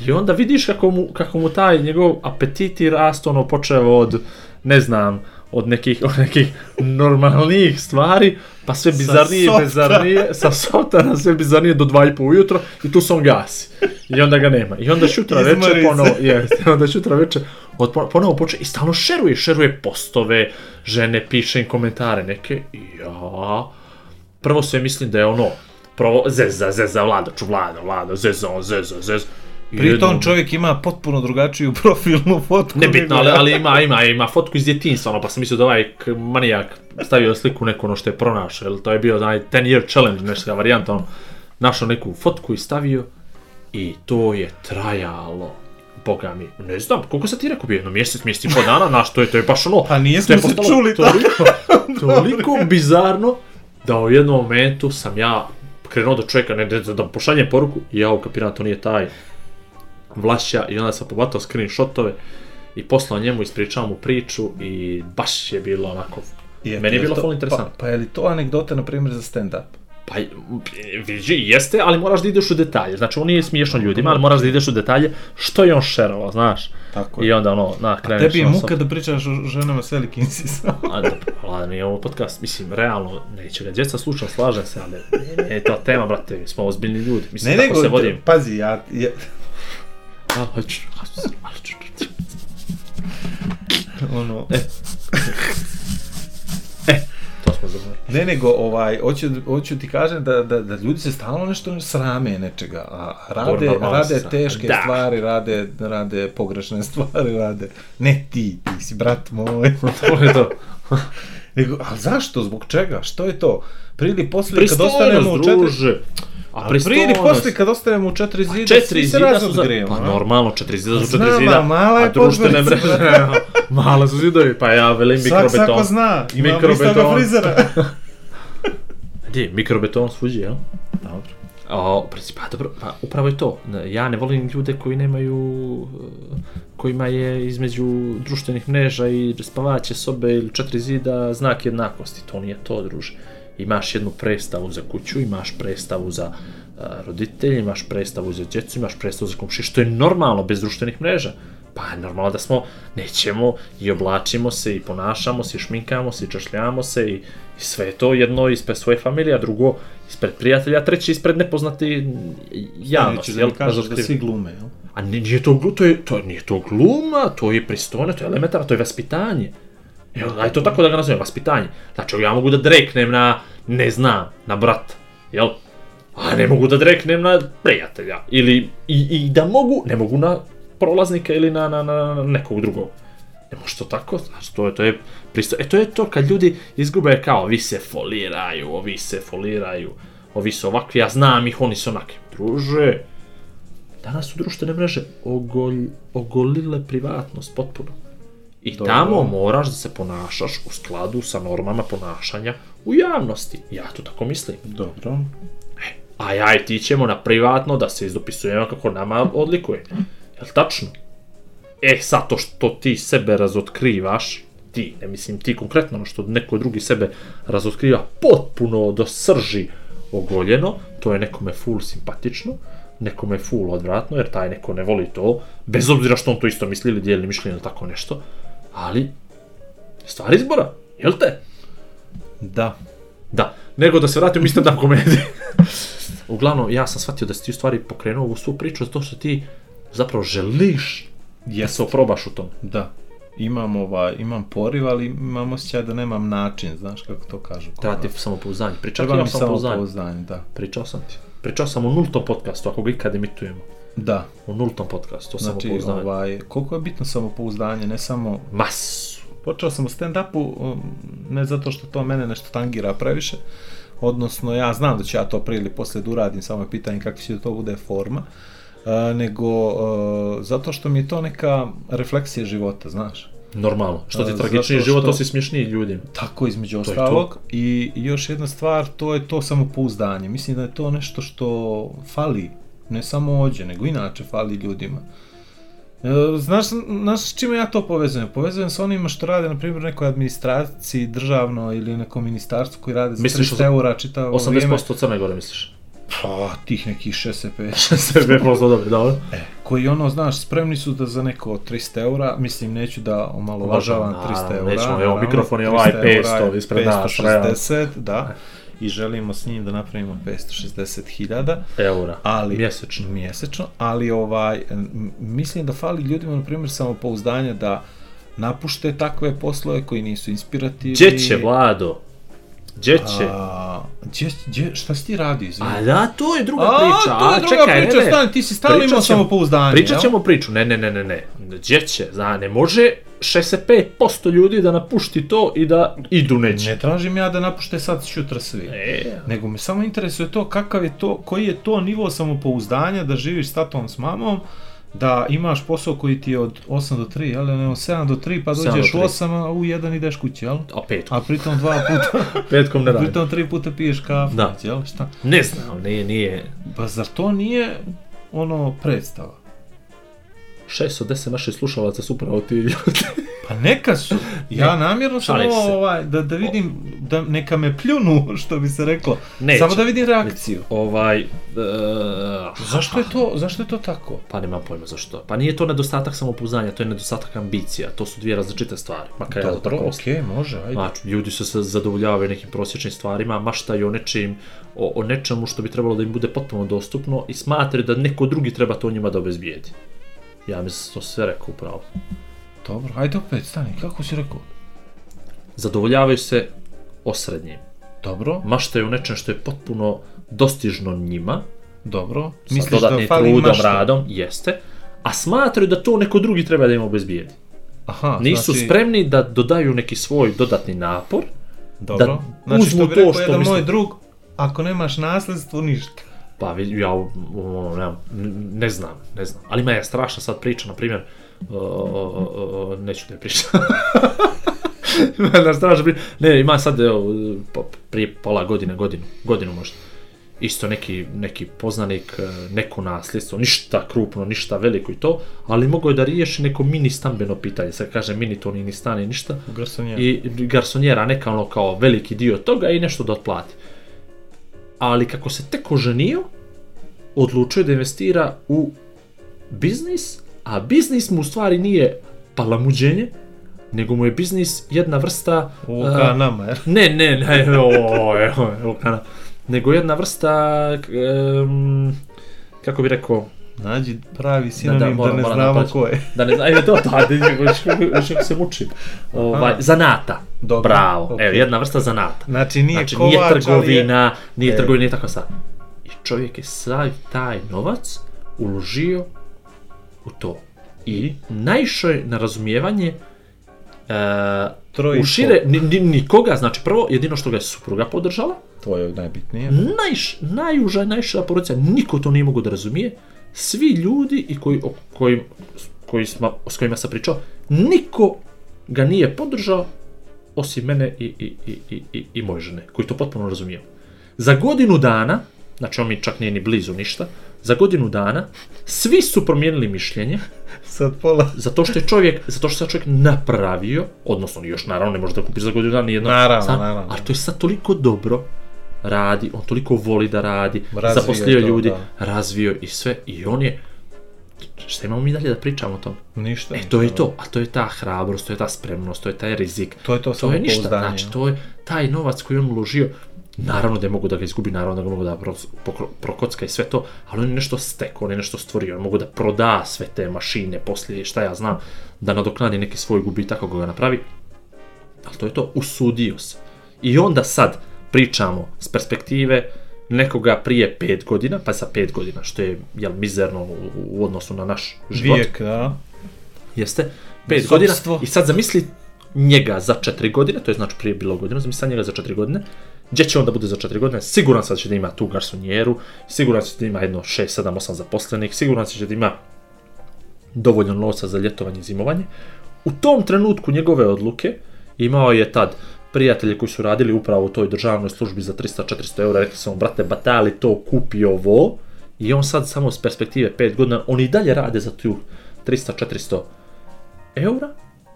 C: I onda vidiš kako mu, kako mu taj njegov apetit i rast ono počeo od, ne znam, od nekih, od nekih normalnijih stvari, pa sve bizarnije,
B: softa.
C: bizarnije, sa softa na sve bizarnije do 2,5 ujutro i tu se on gasi. I onda ga nema. I onda šutra
B: Izmori
C: večer
B: se.
C: ponovo, jeste, onda šutra večer od, ponovo počne i stalno šeruje, šeruje postove, žene piše im komentare neke i ja, prvo sve mislim da je ono, prvo zeza, zeza, vlada, ču vlada, vlada, zeza, on zeza, zeza. I
B: Pritom
C: jednom-
B: čovjek ima potpuno drugačiju profilnu fotku.
C: Nebitno,
B: nego
C: ali,
B: ja.
C: ali ima, ima, ima fotku iz djetinjstva, ono, pa sam mislio da ovaj k- manijak stavio sliku neko ono što je pronašao, jel, to je bio onaj 10 year challenge, nešto varijanta, ono, našao neku fotku i stavio i to je trajalo. Boga mi, ne znam, koliko sam ti rekao bio, jedno mjesec, mjesec i po dana, naš, to je, to je baš ono...
B: Pa
C: to
B: nismo
C: je
B: se
C: postalo
B: čuli tako.
C: toliko, toliko bizarno da u jednom momentu sam ja krenuo do čovjeka, ne, da, da mu pošaljem poruku, ja kapiram, to nije taj Vlašća i onda sam pobatao screenshotove i poslao njemu, ispričao mu priču i baš je bilo onako...
B: Eto,
C: meni je bilo
B: to-
C: full interesantno.
B: Pa, pa je li to anegdota, na primjer, za stand-up?
C: Pa, vidi, jeste, ali moraš da ideš u detalje. Znači, on nije smiješno ljudima, ali moraš da ideš u detalje što je on šerovao, znaš.
B: Tako
C: I onda ono, na, kreneš...
B: Tebi je
C: ono sa-
B: muka da pričaš o ženama s velikim sisom.
C: A dobro, ladno je ovo podcast, mislim, realno, neće ga djeca slušati, slažem se, ali je to tema, brate, mi smo ozbiljni ljudi, mislim,
B: Ne,
C: ne,
B: nego,
C: tako se vodim.
B: pazi, ja, ja,
C: A, hoću, hoću, hoću, hoću.
B: ono,
C: To smo zaboravili.
B: ne nego, ovaj, hoću, hoću ti kažem da, da, da ljudi se stalno nešto srame nečega, a rade,
C: Dobro, normalno se
B: rade
C: srame.
B: teške
C: Da.
B: stvari, rade, rade pogrešne stvari, rade, ne ti, ti si brat moj,
C: To je to.
B: nego, a zašto, zbog čega, što je to? Prije ili poslije, kad ostanemo u
C: Pristojnost,
B: četiri,
C: druže. A
B: prije ili
C: pristojnost.
B: poslije, kad ostanemo u četiri zida,
C: Četiri
B: svi se
C: zida su za...
B: razodgrijemo,
C: Pa
B: a?
C: normalno, četiri zida su
B: Znam,
C: četiri zida.
B: a mala je
C: a društvene
B: podgorica.
C: mreže. Mala su zidovi, pa ja velim
B: Svak svako
C: mikrobeton.
B: zna, imamo
C: Mikrobeton.
B: istoga frizera.
C: Gdje, mikrobeton svuđi, jel?
B: Dobro.
C: O, preci- pa dobro, pa upravo je to. Ne, Ja ne volim ljude koji nemaju, e, kojima je između društvenih mreža i spavaće sobe ili četiri zida znak jednakosti. To nije to, druže. Imaš jednu predstavu za kuću, imaš predstavu za e, roditelje, imaš predstavu za djecu, imaš predstavu za komšije, što je normalno bez društvenih mreža. Pa je normalno da smo, nećemo i oblačimo se i ponašamo se i šminkamo se i češljamo se i, i sve je to jedno ispred svoje familije, a drugo ispred prijatelja, a treće ispred nepoznati javnosti.
B: Nećeš
C: jel,
B: da mi kažeš da
C: razotkriva.
B: svi glume, jel?
C: A ni- nije to, glu- to, je, to nije to gluma, to je pristojno, to je elementarno, to je vaspitanje. Evo, aj to tako da ga nazovem, vaspitanje. Znači, ja mogu da dreknem na ne znam, na brata, jel? A ne mogu da dreknem na prijatelja. Ili, i, i da mogu, ne mogu na prolaznika ili na, na, na, na nekog drugog. Ne može to tako, znaš, to je, to je pristo... E to je to kad ljudi izgube kao, vi se foliraju, ovi se foliraju, ovi su ovakvi, ja znam ih, oni su onakvi. Druže, danas su društvene mreže ogolj, ogolile privatnost potpuno. I
B: Dobro.
C: tamo moraš da se ponašaš u skladu sa normama ponašanja u javnosti. Ja to tako mislim.
B: Dobro.
C: A ja i ti ćemo na privatno da se izdopisujemo kako nama odlikuje. Jel tačno? E, sad to što ti sebe razotkrivaš, ti, ne mislim ti konkretno, ono što neko drugi sebe razotkriva potpuno do srži ogoljeno, to je nekome full simpatično, nekome full odvratno, jer taj neko ne voli to, bez obzira što on to isto misli ili dijeli mišljenje ili tako nešto, ali stvar izbora, jel te?
B: Da.
C: Da, nego da se vratim u stand-up komedije. Uglavnom, ja sam shvatio da si ti u stvari pokrenuo ovu svu priču zato što ti zapravo želiš da se oprobaš u tom.
B: Da. Imam ovaj, imam poriv, ali imam osjećaj da nemam način, znaš kako to kažu.
C: Treba ti samopouzdanje. Pričao ti
B: Treba
C: ja
B: mi samo
C: samopouzdanje.
B: pouzdanje, da.
C: Pričao sam ti. Pričao sam o nultom podcastu, ako ga ikad emitujemo.
B: Da,
C: O nultom podcastu, o
B: znači,
C: samopouzdanje.
B: ovaj, koliko je bitno samopouzdanje, ne samo
C: Masu.
B: Počeo sam u stand-upu, um, ne zato što to mene nešto tangira previše, odnosno ja znam da ću ja to prije ili poslije da uradim, samo je pitanje kakva će to bude forma, e, nego e, zato što mi je to neka refleksija života, znaš.
C: Normalno. Što ti
B: A,
C: je tragičniji
B: zato
C: život, to
B: što-
C: si smješniji ljudima.
B: Tako između
C: To je
B: ostalog. I i još jedna stvar, to je to samopouzdanje. Mislim da je to nešto što fali, ne samo ođe, nego inače fali ljudima. E, Znaš, znaš s čime ja to povezujem? Povezujem sa onima što rade, na primjer, u nekoj administraciji državno ili nekom ministarstvu koji rade za
C: Misliš
B: 300 eura čitavo vrijeme.
C: 80% Crne Gore, misliš?
B: Pa, tih nekih 65
C: Sebe prosto dobro, dobro.
B: koji ono, znaš, spremni su da za neko 300 eura, mislim, neću da omalovažavam
C: Naravno,
B: 300 eura.
C: nećemo, evo,
B: naravno,
C: mikrofon je ovaj
B: 300 eura
C: 500
B: je
C: ispred nas,
B: 560, da. I želimo s njim da napravimo 560 hiljada,
C: Eura.
B: ali...
C: Mjesečno.
B: Mjesečno, ali ovaj, m- mislim da fali ljudima, na primjer, samopouzdanja da napušte takve poslove koji nisu inspirativni.
C: Gdje će, Vlado? Gdje će?
B: A, Gdje, gdje, šta si ti radio, izvini?
C: A Pa da, to je druga
B: A,
C: priča.
B: to je druga
C: čekaj,
B: priča,
C: ne, ne.
B: stani, ti si stalno
C: Pričat
B: imao
C: ćemo-
B: samopouzdanje,
C: Pričat
B: jel?
C: ćemo priču, ne, ne, ne, ne, ne. Gdje će, zna, ne može 65% ljudi da napušti to i da idu neće.
B: Ne tražim ja da napušte sad šutra svi.
C: E,
B: Nego me samo interesuje to kakav je to, koji je to nivo samopouzdanja da živiš s tatom, s mamom, da imaš posao koji ti je od 8 do 3, jel, ne, od 7 do 3, pa
C: 7 do
B: dođeš u
C: 3.
B: 8, a u 1 ideš kući, jel?
C: a petkom,
B: A pritom dva puta,
C: petkom ne radi.
B: pritom tri puta piješ kafu,
C: Da.
B: jel, šta?
C: Ne znam, nije, nije.
B: Pa zar to nije, ono, predstava?
C: 6 od 10 naših slušalaca su upravo ti ljudi.
B: Pa neka su. Ja namjerno sam
C: šalim se.
B: ovo, ovaj, da, da vidim, da neka me pljunu, što bi se reklo.
C: Neće.
B: Samo da vidim reakciju.
C: Ovaj, e,
B: Pa Zašto je to, zašto je to tako?
C: Pa nemam pojma zašto. Pa nije to nedostatak samopouzdanja, to je nedostatak ambicija. To su dvije različite stvari. Makar ja to tako
B: Dobro,
C: mislim.
B: okej, može, ajde.
C: Znači, ljudi se se zadovoljavaju nekim prosječnim stvarima, maštaju o nečim, o, o nečemu što bi trebalo da im bude potpuno dostupno i smatraju da neko drugi treba to njima da obezbijedi. Ja mislim da sam to sve rekao upravo.
B: Dobro, ajde opet, stani, kako si rekao?
C: Zadovoljavaju se osrednjim.
B: Dobro,
C: Maštaju o nečem što je potpuno dostižno njima,
B: dobro.
C: sa dodatnim
B: fali
C: trudom,
B: mašta?
C: radom, jeste, a smatraju da to neko drugi treba da im obezbijedi.
B: Aha,
C: Nisu
B: znači,
C: spremni da dodaju neki svoj dodatni napor,
B: Dobro.
C: da
B: znači,
C: uzmu
B: što bi
C: to
B: rekao
C: što
B: jedan
C: misle.
B: moj drug, ako nemaš nasljedstvo, ništa.
C: Pa vidi, ja o, o, nemam, n- ne znam, ne znam. Ali ima je strašna sad priča, na primjer, o, o, o, o, neću da je pričam. ima jedna strašna priča. Ne, ima sad, evo, pa- prije pola godine, godinu, godinu možda. Isto neki, neki poznanik, e, neko nasljedstvo, ništa krupno, ništa veliko i to, ali mogao je da riješi neko mini stambeno pitanje, sad kaže mini to ni ni stan ni ništa,
B: Garsonjera.
C: i garsonjera neka ono kao veliki dio toga i nešto da otplati. Ali kako se tek oženio, odlučio je da investira u biznis, a biznis mu u stvari nije palamuđenje, nego mu je biznis jedna vrsta...
B: Ovo
C: a,
B: ka nama, jer?
C: ne, ne, ne, oj, oj, oj, kana. Nego jedna vrsta, k- em, kako bi rekao,
B: Nađi pravi sinonim da, da, moram, da ne moram znamo napraći. ko je.
C: Da ne znamo, to, da, da, još, još, još se mučim. Ovaj, zanata.
B: Dobro,
C: Bravo.
B: okej.
C: Evo, jedna vrsta zanata.
B: Znači nije
C: znači,
B: kovač,
C: nije
B: ali je-
C: trgovina, nije
B: E.
C: trgovina, nije tako sad. I čovjek je sav taj novac uložio u to. I naišao je na razumijevanje
B: Troje
C: e,
B: i
C: u
B: pol.
C: šire, ni, ni, nikoga, znači prvo, jedino što ga je supruga podržala,
B: To je najbitnije.
C: najš, najuža, najšira porodica, niko to nije mogu da razumije, svi ljudi i koji, o, koji, koji sma, s kojima sam pričao, niko ga nije podržao, osim mene i, i, i, i, i, i moje žene, koji to potpuno razumiju. Za godinu dana, znači on mi čak nije ni blizu ništa, za godinu dana svi su promijenili mišljenje,
B: Sad pola...
C: zato što je čovjek, zato što se čovjek napravio, odnosno još naravno ne može da kupiš za godinu dana nijedno.
B: Naravno,
C: sad,
B: naravno.
C: Ali to je sad toliko dobro, radi, on toliko voli da radi,
B: Razvio je
C: zaposlio
B: to,
C: ljudi,
B: da.
C: razvio i sve i on je, šta imamo mi dalje da pričamo o tom?
B: Ništa.
C: E, to je to, a to je ta hrabrost, to je ta spremnost, to je taj rizik.
B: To je to
C: To je ništa,
B: samopouzdanje,
C: znači
B: no.
C: to je taj novac koji je on uložio, naravno da je mogu da ga izgubi, naravno da ga mogu da pro- pokro- prokocka i sve to, ali on je nešto stekao, on je nešto stvorio, on mogu da proda sve te mašine, poslije šta ja znam, da nadoknadi neki svoj gubitak ako ga napravi, ali to je to, usudio se. I onda sad pričamo s perspektive nekoga prije 5 godina, pa sa 5 godina, što je jel, mizerno u, u odnosu na naš život.
B: Vijek, da.
C: Jeste, 5 godina
B: Sobstvo.
C: i sad zamisli njega za 4 godine, to je znači prije bilo godinu, zamisli sad njega za 4 godine, gdje će on da bude za 4 godine, siguran sam da će da ima tu garsonjeru, siguran sam da će da ima jedno 6, 7, 8 zaposlenih, siguran sam da će da ima dovoljno novca za ljetovanje i zimovanje. U tom trenutku njegove odluke imao je tad prijatelje koji su radili upravo u toj državnoj službi za 300-400 eura, rekli su mu, brate, batali to, kupi ovo, i on sad samo s perspektive 5 godina, oni i dalje rade za tu 300-400 eura,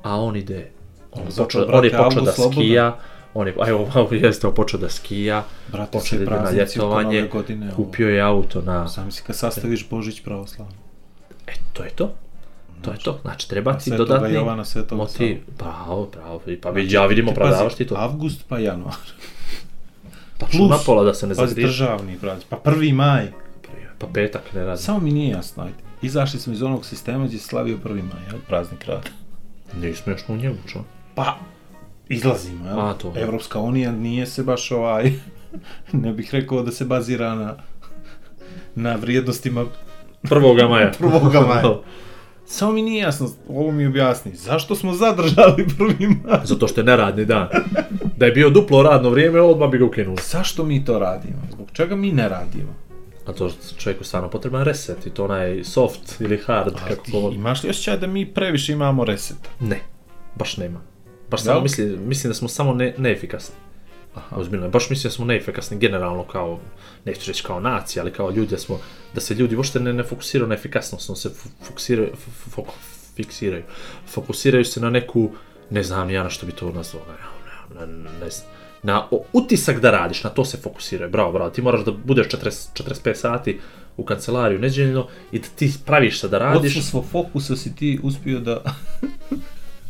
C: a on ide, on,
B: Zato,
C: počeo, on
B: brate,
C: je počeo
B: Abu
C: da
B: slobodan.
C: skija, on je, evo, malo jeste, on počeo da skija,
B: Brate,
C: počeo
B: svi
C: da ide na
B: praznici oko Nove
C: ljetovanje,
B: godine, ovo.
C: kupio je auto na,
B: Sam si kad sastaviš Božić pravoslavno.
C: e, to je to, to je to, znači treba ti
B: Svetoga
C: dodatni
B: Jovana, Svetoga
C: motiv, bravo, bravo, i pa
B: Znači,
C: vidi, ja vidim opravdavaš ti to,
B: Avgust pa januar.
C: pa
B: plus,
C: čuna pola da se ne
B: Pazi,
C: zagriješ,
B: državni praznik. Pa 1. maj.
C: pa petak ne radi,
B: Samo mi nije jasno, ajde. Izašli smo iz onog sistema gdje se slavio 1. maj, jel? Praznik rada.
C: nismo još u njemu, čuna.
B: Pa, izlazimo, jel?
C: A, to.
B: Evropska unija nije se baš ovaj, ne bih rekao da se bazira na, na vrijednostima
C: 1. maja.
B: 1. maja. Samo mi nije jasno, ovo mi objasni, zašto smo zadržali 1. maj?
C: Zato što je neradni dan. Da je bio duplo radno vrijeme, odmah bi ga ukinuo.
B: Zašto mi to radimo? Zbog čega mi ne radimo?
C: A to čovjeku stvarno potreban reset i to onaj soft ili hard, kako
B: Ti
C: god.
B: imaš li osjećaj da mi previše imamo reseta?
C: Ne, baš nema. Baš
B: Da?
C: samo mislim, mislim da smo samo ne, neefikasni. Aha. Ozbiljno, baš mislim da smo neefikasni generalno kao, neću reći kao nacija, ali kao ljudi, da, smo, da se ljudi uopšte ne, ne fokusiraju na efikasnost, no se fu- fokusiraju, fu- fu- fok- fiksiraju. Fokusiraju se na neku, ne znam ni ja na što bi to nazvao, ne, ne, ne, ne znam. Na o- utisak da radiš, na to se fokusiraju, bravo, bravo, ti moraš da budeš 40, 45 sati u kancelariju neđeljno i da ti praviš se da radiš.
B: Odsustvo fokusa si ti uspio da,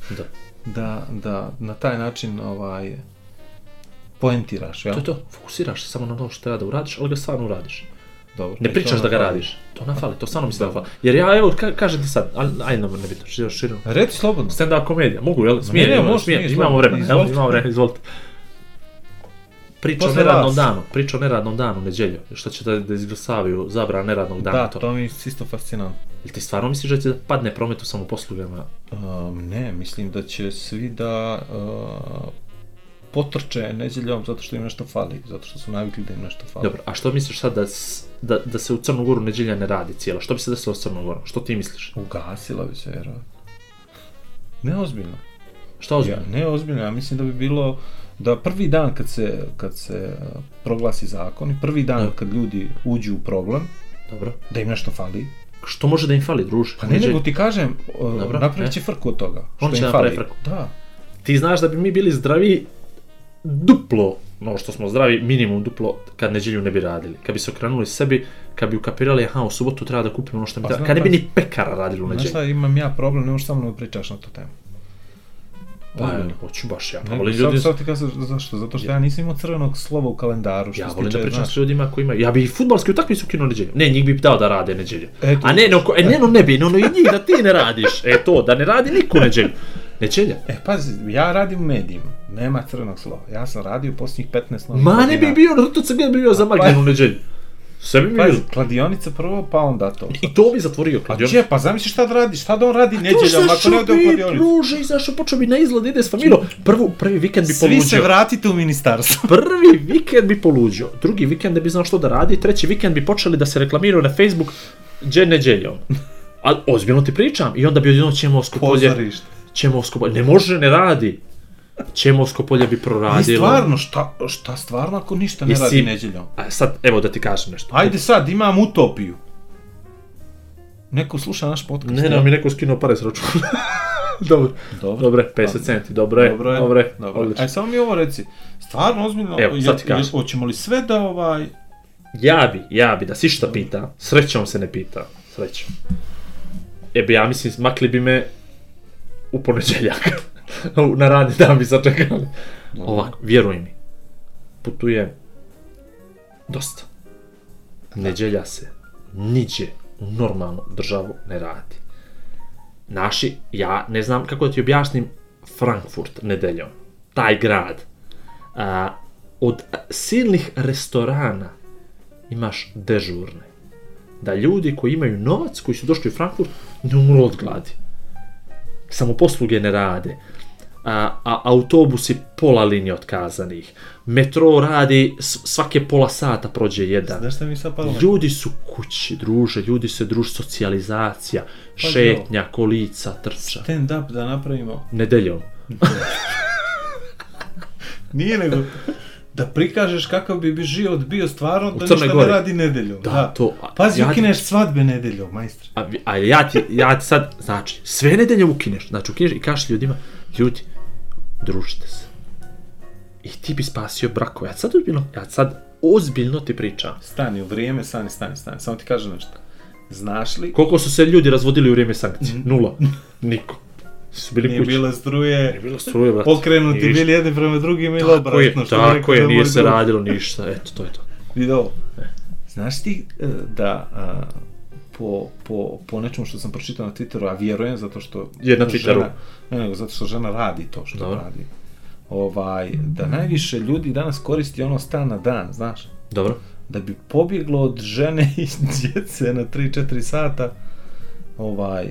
C: Da.
B: da, da na taj način ovaj, poentiraš, jel?
C: To je to, fokusiraš se samo na ono što treba da uradiš, ali ga stvarno uradiš.
B: Dobro,
C: Ne
B: e,
C: pričaš
B: to
C: da ga
B: ono-
C: radiš. To nam fali, to stvarno mi se da fali. Jer ja, evo, ka, kažem ti sad, ali, ajde, nam ne bitno, širo, širo.
B: Reci slobodno.
C: Stand-up komedija, mogu, jel? Smije,
B: ne,
C: ne,
B: može,
C: smije,
B: smije,
C: imamo
B: izvolite,
C: vremena, jel?
B: izvolite.
C: Imamo vremena, izvolite. Priča o
B: Posle
C: neradnom
B: vas.
C: danu, priča o neradnom danu, neđeljo. Što će da, da izglasavaju zabrana neradnog dana,
B: Da,
C: to.
B: to mi je isto fascinantno.
C: Jel ti stvarno misliš da će da padne promet u samoposlugama?
B: Um, ne, mislim da će svi da uh, potrče neđeljom zato što im nešto fali, zato što su navikli da im nešto fali.
C: Dobro, a što misliš sad da, s- da, da se u Crnu Goru neđelja ne radi cijela? Što bi se desilo s Crnom Gorom? Što ti misliš?
B: Ugasila bi se, vjerovatno. Neozbiljno.
C: Šta ozbiljno?
B: Ja, neozbiljno, ja mislim da bi bilo da prvi dan kad se, kad se uh, proglasi zakon i prvi dan
C: Da.
B: kad ljudi uđu u problem,
C: Dobro.
B: da im nešto fali.
C: Što može da im fali, druže?
B: Pa ne,
C: Neđeljo?
B: nego ti kažem, uh,
C: Dobro,
B: napravit
C: e.
B: će frku od toga.
C: On
B: što
C: će
B: im
C: napraviti
B: fali.
C: frku.
B: Da.
C: ti znaš da bi mi bili zdravi duplo no što smo zdravi, minimum duplo kad neđelju ne bi radili. Kad bi se okrenuli sebi, kad bi ukapirali, aha, u subotu treba da kupimo ono što mi
B: Pa
C: treba,
B: znam,
C: kad ne bi
B: pazi.
C: ni pekara radili u
B: Znaš
C: neđelju.
B: šta, imam ja problem, ne možeš sa mnom da pričaš na tu temu.
C: Pa, ja ne hoću baš ja. Pa,
B: Ne,
C: volim
B: sad-
C: ljudi,
B: Sad ti kažeš zašto? Zato što ja, nisam imao crvenog slova u kalendaru. Što
C: ja
B: se
C: volim da
B: tiče,
C: pričam
B: znaš,
C: s ljudima koji imaju. Ja bi i futbalski utakmicu ukinuo neđelju. Ne, njih bi dao da rade neđelju.
B: Eto,
C: A ne, no, ko- e, ne, no ne bi, no, no i njih da ti ne radiš. E to, da ne radi niko neđelju. Neđelja.
B: E, pazi, ja radim u medijima. Nema crvenog slova. Ja sam radio posljednjih 15 novih
C: Ma ne
B: godina. Pa,
C: bi bio, no to se bi bio za Magdanu neđelju. Sve bi mi bilo.
B: Pazi, kladionica prvo, pa onda to.
C: I to bi zatvorio
B: A
C: kladionicu.
B: gdje, pa zamisli šta da radi, šta da on radi nedjeljom, ako ne ode u kladionicu.
C: Ruže, izašao, počeo bi na izgled, ide s familijom. Prvu, prvi vikend bi
B: Svi se
C: poluđio.
B: vratite u ministarstvo.
C: Prvi vikend bi poluđio, drugi vikend ne bi znao što da radi, treći vikend bi počeli da se reklamiraju na Facebook gdje neđeljom. Ali ozbiljno ti pričam. I onda bi odjedno Ćemovsko polje,
B: Pozorište.
C: Ćemovsko polje, ne može, ne radi. Ćemovsko polje bi proradilo.
B: I stvarno, šta, šta stvarno ako ništa ne
C: Jesi-
B: radi nedjeljom?
C: A sad, evo da ti kažem nešto.
B: Ajde sad, imam utopiju. Neko sluša naš podcast.
C: Ne,
B: jel?
C: nam je neko skinuo pare s računa. dobro,
B: Dobro.
C: dobre, 50 centi, dobro je,
B: Dobro je,
C: dobro je,
B: dobro. E,
C: odlično.
B: Aj, samo mi ovo reci. Stvarno, ozbiljno,
C: Evo,
B: je-
C: sad ti
B: je-
C: kažem.
B: hoćemo li sve da ovaj...
C: Ja bi, ja bi, da si šta pita, srećom se ne pita, srećom. E bi, ja mislim, makli bi me u ponedjeljak. U- Na radni dan bi sačekali. Ovako, vjeruj mi, putuje dosta. Neđelja se niđe u normalnu državu ne radi. Naši, ja ne znam kako da ti objasnim, Frankfurt nedeljom, taj grad, a, od a, silnih restorana imaš dežurne. Da ljudi koji imaju novac, koji su došli u Frankfurt, ne umru od gladi. Samoposluge ne rade. A, a, autobusi pola linije otkazanih. Metro radi s- svake pola sata prođe jedan.
B: Znaš šta mi je sad palo?
C: Ljudi su kući, druže, ljudi se druži, socijalizacija,
B: Pa
C: šetnja, kolica, trča.
B: Stand up da napravimo.
C: Nedeljom.
B: Nije nego da prikažeš kakav bi bi život bio stvarno da
C: Crnoj
B: ništa ne
C: Gori.
B: radi nedeljom.
C: Da, to- a-
B: Pazi,
C: ja-
B: ukineš svadbe nedeljom, majstre.
C: A, vi- a ja, ti, ja ti sad, znači, sve nedelje ukineš. Znači, ukineš i kažeš ljudima, ljudi, družite se. I ti bi spasio brakove. Ja sad ozbiljno, ja sad ozbiljno ti pričam.
B: Stani u vrijeme, stani, stani, stani. Samo ti kažem nešto. Znaš li,
C: Koliko su se ljudi razvodili u vrijeme sankcije? Nula. Niko. Su bili
B: Mhm. nije
C: kući.
B: bilo struje,
C: bilo struje, brate.
B: pokrenuti
C: Ništa.
B: bili jedni prema drugim ili
C: Tako je,
B: obratno. što bi
C: tako
B: rekao
C: je,
B: moj
C: nije se
B: drug.
C: radilo ništa. Eto, to je to.
B: Vidi ovo. E. Znaš ti e, da a, po, po, po nečemu što sam pročitao na Twitteru, a vjerujem zato što...
C: Je na Twitteru.
B: Žena, ne, nego zato što žena radi to što
C: Dobro.
B: radi. Ovaj, da najviše ljudi danas koristi ono stan na dan, znaš?
C: Dobro.
B: Da bi pobjeglo od žene i djece na 3-4 sata, ovaj,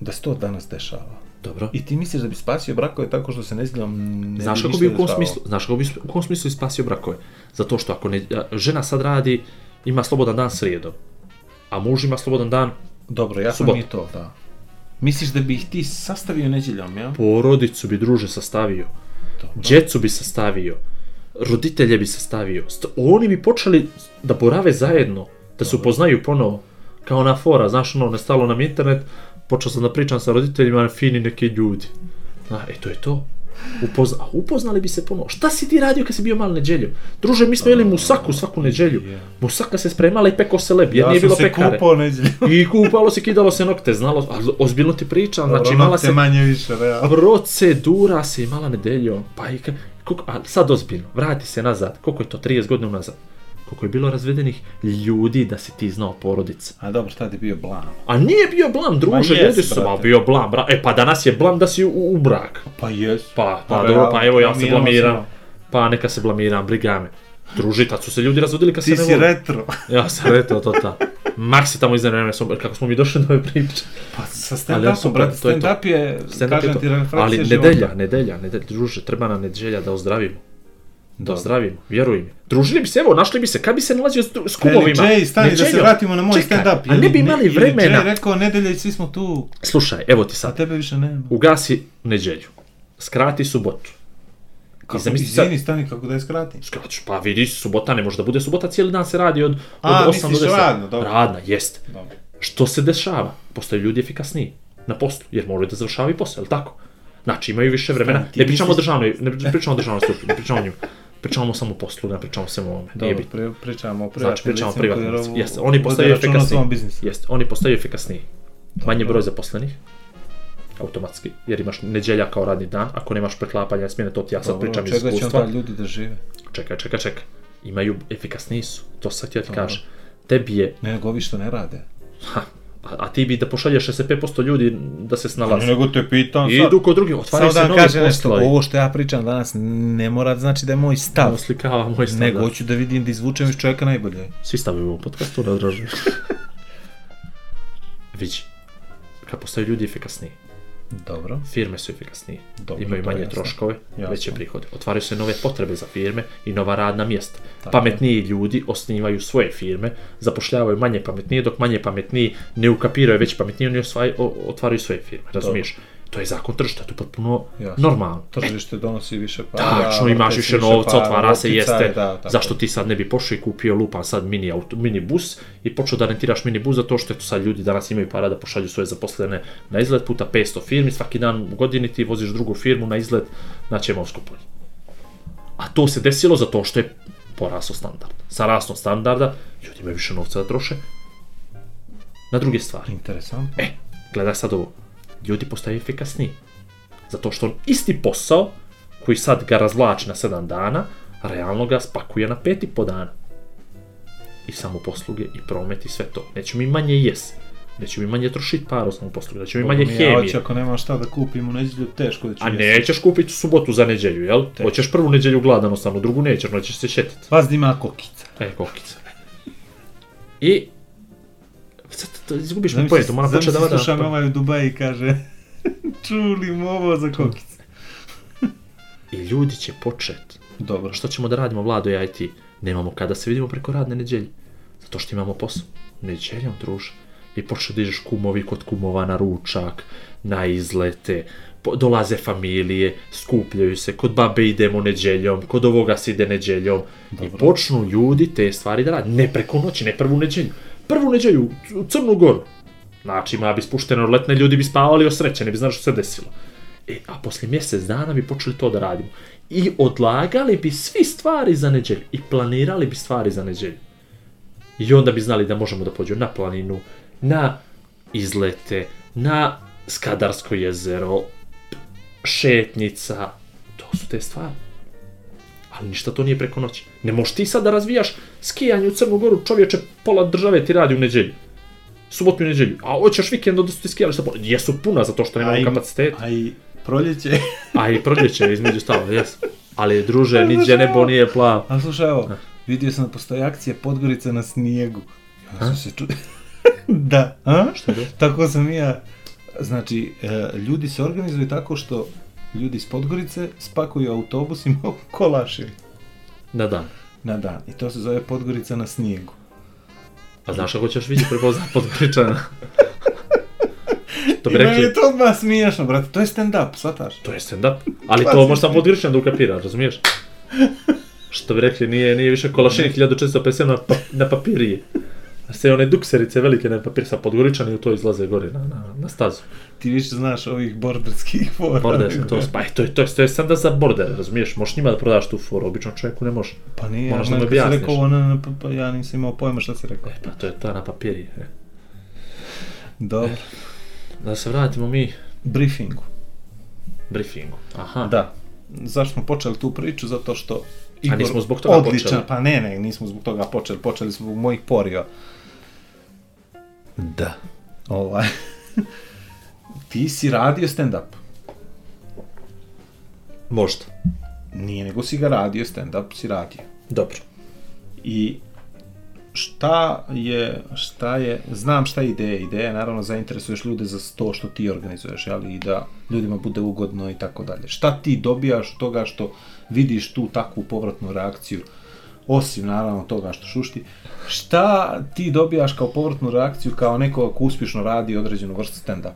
B: da se to danas dešava.
C: Dobro.
B: I ti misliš da bi spasio brakove tako što se nedeljom ne
C: Znaš kako
B: ništa
C: bi u kom
B: dešavalo?
C: smislu, znaš kako bi sp- u kom smislu spasio brakove? Zato što ako ne, a, žena sad radi, ima slobodan dan srijedom, a muž ima slobodan dan
B: Dobro, ja sam
C: Subota.
B: i to, da. Misliš da bi ih ti sastavio neđeljom, ja?
C: porodicu bi druže sastavio,
B: Dobro.
C: djecu bi sastavio, roditelje bi sastavio. St- Oni bi počeli da borave zajedno, da se upoznaju ponovo. Kao na fora, znaš ono, nestalo nam internet, počeo sam da pričam sa roditeljima, fini neki ljudi. A, e to je to. Upozna, a upoznali bi se ponovo. Šta si ti radio kad si bio mali neđelju? Druže, mi smo jeli musaku svaku neđelju. Musaka se spremala i peko se leb, jer nije bilo pekare.
B: neđeljom.
C: I kupalo se, kidalo se nokte, znalo, ali ozbiljno ti pričam, znači imala se
B: Ono, manje više, realno.
C: procedura se imala nedeljom, pa i ka, koliko, a sad ozbiljno, vrati se nazad, koliko je to, 30 godina nazad, koliko je bilo razvedenih ljudi da si ti znao porodica.
B: A dobro, tad je bio blam.
C: A nije bio blam, druže,
B: jes,
C: ljudi su, ma
B: brate.
C: bio blam, bra, e pa danas je blam da si u, u brak.
B: Pa jes.
C: Pa,
B: Pa
C: pa, dobro, pa
B: realno,
C: evo ja se
B: blamiramo se,
C: blamiram,
B: no.
C: pa neka se blamiram, briga me. Druži, tad su se ljudi razvodili kad
B: Ti
C: se ne
B: si
C: voli.
B: retro.
C: Ja sam retao to ta. Maksi tamo iznenio, kako smo mi došli do ove priče.
B: Pa sa
C: Ali ja sam
B: stand-upom, brate,
C: to je to.
B: stand-up je,
C: Stand up je
B: kažem
C: to.
B: ti, refrakcija
C: Ali
B: života.
C: nedelja, nedelja, nedelja, druže, treba nam nedelja da ozdravimo. Da ozdravimo, vjeruj mi. Družili bi se, evo, našli bi se, kad bi se nalazio s, s kumovima?
B: Eli, Jay, stani da se
C: Nedeljom.
B: vratimo na moj
C: Čekaj,
B: stand-up.
C: A ne
B: Ili-
C: bi imali
B: ili
C: vremena.
B: Jay rekao, nedelja i svi smo tu,
C: Slušaj, evo ti
B: a
C: sad,
B: tebe više nema.
C: ugasi nedelju, skrati subotu.
B: Kako,
C: zamisli sad-
B: izvini, stani, kako da je skratim.
C: Skraću, pa vidi, subota ne može da bude subota, cijeli dan se radi od, od
B: A,
C: 8
B: misliš
C: do 10.
B: radno, dobro.
C: Radna, jest.
B: Dobro.
C: Što se dešava? Postaju ljudi efikasniji na poslu, jer moraju da završavaju posao, jel tako? Znači, imaju više vremena.
B: Stani, ti
C: Ne pričamo o
B: misliš-
C: državnoj, ne pričamo o državnoj službi, ne pričamo o njima. Pričamo samo o poslu, ne pričamo samo o ovome. Nije
B: Dobro,
C: bitno.
B: pri, pričamo o privatnim
C: Znači, pričamo o
B: licima
C: privatnim.
B: koji
C: licima.
B: ovo-
C: Jeste, oni
B: vode
C: postaju
B: računa o
C: efikasniji.
B: svom biznisu.
C: Jeste, oni postaju efikasniji. Manje broj zaposlenih. automatski, jer imaš nedjelja kao radni dan, ako nemaš preklapanja smjene, to ti ja sad
B: Dobro,
C: pričam iz
B: čega će
C: iskustva.
B: onda ljudi da žive?
C: Čekaj, čekaj, čekaj. Imaju, efikasniji su, to sad ti ja ti kažem. Tebi je,
B: Ne, nego ovi što ne rade.
C: ha, a, a ti bi da pošalješ 65% ljudi da se snalaze.
B: nego te pitam
C: I idu kod drugi,
B: Samo da
C: otvaraju se
B: vam
C: novi
B: kažem nešto,
C: poslovi.
B: ovo što ja pričam danas ne mora znači da je moj
C: Ovo
B: stav,
C: slikava moj standard.
B: nego hoću da vidim da izvučem iz čovjeka najbolje.
C: Svi stavimo u podcastu, ne odražuju. Viđi, kad postaju ljudi efikasniji,
B: Dobro.
C: firme su efikasnije,
B: Dobro,
C: imaju
B: to je
C: manje
B: jasno.
C: troškove,
B: Jasno.
C: veće prihode, otvaraju se nove potrebe za firme i nova radna mjesta.
B: Tako
C: pametniji ljudi osnivaju svoje firme, zapošljavaju manje pametnije, dok manje pametniji ne ukapiraju već pametnije, oni osvaj, o, otvaraju svoje firme, razumiješ? To je zakon tržišta, to je potpuno
B: Jasno.
C: normalno.
B: Tržište donosi više para.
C: Tačno, Pa, znači, imaš
B: vrti se
C: više novca,
B: para,
C: otvara
B: optica
C: se,
B: je,
C: jeste.
B: Da, tako.
C: Zašto ti sad ne bi pošao i kupio lupan sad mini, auto, mini bus i počeo da rentiraš mini bus zato što eto sad ljudi danas imaju para da pošalju svoje zaposlene na izlet puta 500 firmi, svaki dan u godini ti voziš drugu firmu na izlet na Čemovsko polje. A to se desilo zato što je porasao standard. Sa rastom standarda ljudi imaju više novca da troše na druge stvari.
B: Interesantno.
C: E, gledaj sad ovo. Ljudi postaju efikasniji. Zato što on isti posao, koji sad ga razvlači na 7 dana, realno ga spakuje na 5 i po dana. I samoposluge, i promet, i sve to. Nećemo mi manje jes. Nećemo mi manje trošit para u samoposluge. Nećemo mi manje
B: Boga mi, ja
C: hemije.
B: hoću ako nema šta da kupim u nedjelju, teško da ću
C: A
B: jesti.
C: nećeš kupiti u subotu za nedjelju, jel? Hoćeš prvu nedjelju gladan ostanu, drugu nećeš, no ćeš se šetiti.
B: Vas da ima kokica.
C: E, kokica. I... Sad, to- izgubiš mi
B: Zamisli-
C: pojetu, moram
B: zamisli
C: početi da vadam.
B: Slušam ovaj u Dubaji i kaže, čuli mu ovo za kokice. ovaj-
C: I ljudi će početi
B: Dobro,
C: Što ćemo da radimo, Vlado i IT? Nemamo kada se vidimo preko radne nedjelje. Zato što imamo posao. Nedjeljom, druže. I počne da ideš kumovi kod kumova na ručak, na izlete, po, dolaze familije, skupljaju se, kod babe idemo nedjeljom, kod ovoga se ide nedjeljom. I počnu ljudi te stvari da rade. Ne preko noći, ne prvu nedjelju. Prvu nedjelju u C- u Crnu Goru. Znači, ima bi spušteno letne, ljudi bi spavali osrećeni, bi znali što se desilo. E, a poslije mjesec dana bi počeli to da radimo. I odlagali bi svi stvari za neđelju. I planirali bi stvari za neđelju. I onda bi znali da možemo da pođemo na planinu, na izlete, na Skadarsko jezero, šetnica. To su te stvari. Ali ništa to nije preko noći. Ne možeš ti sad da razvijaš skijanje u Crnu Goru, čovječe, pola države ti radi u neđelju. Subotu i neđelju. A hoćeš vikend da su ti skijališta pola. Jesu puna zato što
B: A
C: nemamo
B: i-
C: kapacitet.
B: a i proljeće.
C: A i proljeće između stava, jes. Ali druže, niđe nebo nije plav.
B: A slušaj, evo, vidio sam da postoje akcije Podgorica na snijegu. Ja sam se ču... da, a?
C: Šta je to?
B: Tako sam i ja. Znači, e, ljudi se organizuju tako što ljudi iz Podgorice spakuju autobus i mogu kolašiti
C: Na dan.
B: na dan. I to se zove Podgorica na snijegu.
C: A Pa znaš ako ćeš vidjeti prepoznat Podgoričana? to
B: I
C: bi
B: meni
C: rekli,
B: je to odmah smiješno, brate. To je stand-up, shvataš?
C: to je stand-up. Ali
B: Pa
C: to možda Podgoričan da ukapira, razumiješ? Što bi rekli, nije, nije više Kolašin 1457 na, pa, na papirije. Se one dukserice velike na papir sa Podgoričani u to izlaze gore na, na, na stazu.
B: Ti više znaš ovih borderskih fora.
C: Border, to, pa, e, to, je, to, je, to je stand za border, razumiješ? Možeš njima da prodaš tu foru, običnom čovjeku ne može.
B: Pa nije,
C: Moraš da
B: ono
C: mi
B: kad si
C: objasniš.
B: rekao, ono, ne, pa, pa ja nisam imao pojma šta si rekao.
C: Pa to je ta na papirije. e.
B: Dobro.
C: Da se vratimo mi
B: Briefingu.
C: briefingu. Aha.
B: Da. Zašto smo počeli tu priču? Zato što Igor
C: nismo zbog toga
B: odličan,
C: počeli.
B: pa ne, ne, nismo zbog toga počeli, počeli smo zbog mojih poriva. Da. Ovaj. Ti si radio stand-up.
C: Možda.
B: Nije nego si ga radio, stand-up si radio.
C: Dobro.
B: I šta je, šta je, znam šta je ideja, ideja je naravno zainteresuješ ljude za to što ti organizuješ, ali i da ljudima bude ugodno i tako dalje. Šta ti dobijaš od toga što vidiš tu takvu povratnu reakciju, osim naravno toga što šušti, šta ti dobijaš kao povratnu reakciju kao nekoga ko uspješno radi određenu vrstu stand-upa?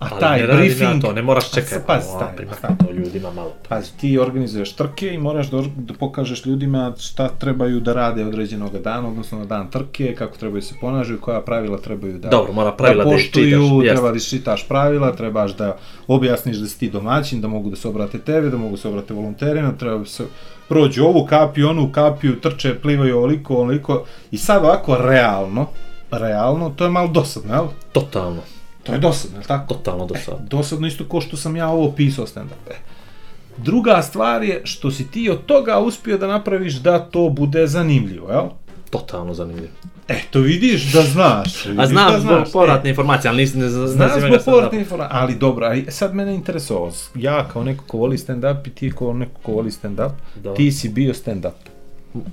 B: A
C: Ali
B: taj
C: Pa ne radi
B: briefing...
C: na to, ne moraš
B: Pa se
C: čekati.
B: pazi,
C: Pa,
B: stani,
C: pa,
B: stani.
C: to ljudima malo.
B: Pazi, ti organizuješ trke i moraš da, da pokažeš ljudima šta trebaju da rade određenog dana, odnosno na dan trke, kako trebaju se ponašaju, koja pravila trebaju da
C: Dobro, mora pravila da
B: da
C: ih
B: poštuju,
C: čitaš,
B: treba da čitaš pravila, trebaš da objasniš da si ti domaćin, da mogu da se obrate tebe, da mogu se obrate volonterima, treba da se prođu ovu kapiju, onu kapiju, trče, plivaju ovoliko, ovoliko i sad ovako realno, realno, to je malo dosadno, jel?
C: Totalno.
B: To je dosadno, je li tako?
C: Totalno do sad.
B: Dosadno isto ko što sam ja ovo pisao stand-up. E. Druga stvar je što si ti od toga uspio da napraviš da to bude zanimljivo, jel?
C: Totalno zanimljivo.
B: E, to vidiš da znaš.
C: A
B: vidiš
C: znam
B: da
C: zbog
B: znaš,
C: povratne informacije, ali nisam ne
B: Znam
C: znam
B: zbog povratne informacije, ali dobro, ali sad mene interesovao, ja kao neko ko voli stand-up i ti kao neko ko voli stand-up,
C: Da.
B: ti si bio stand-up,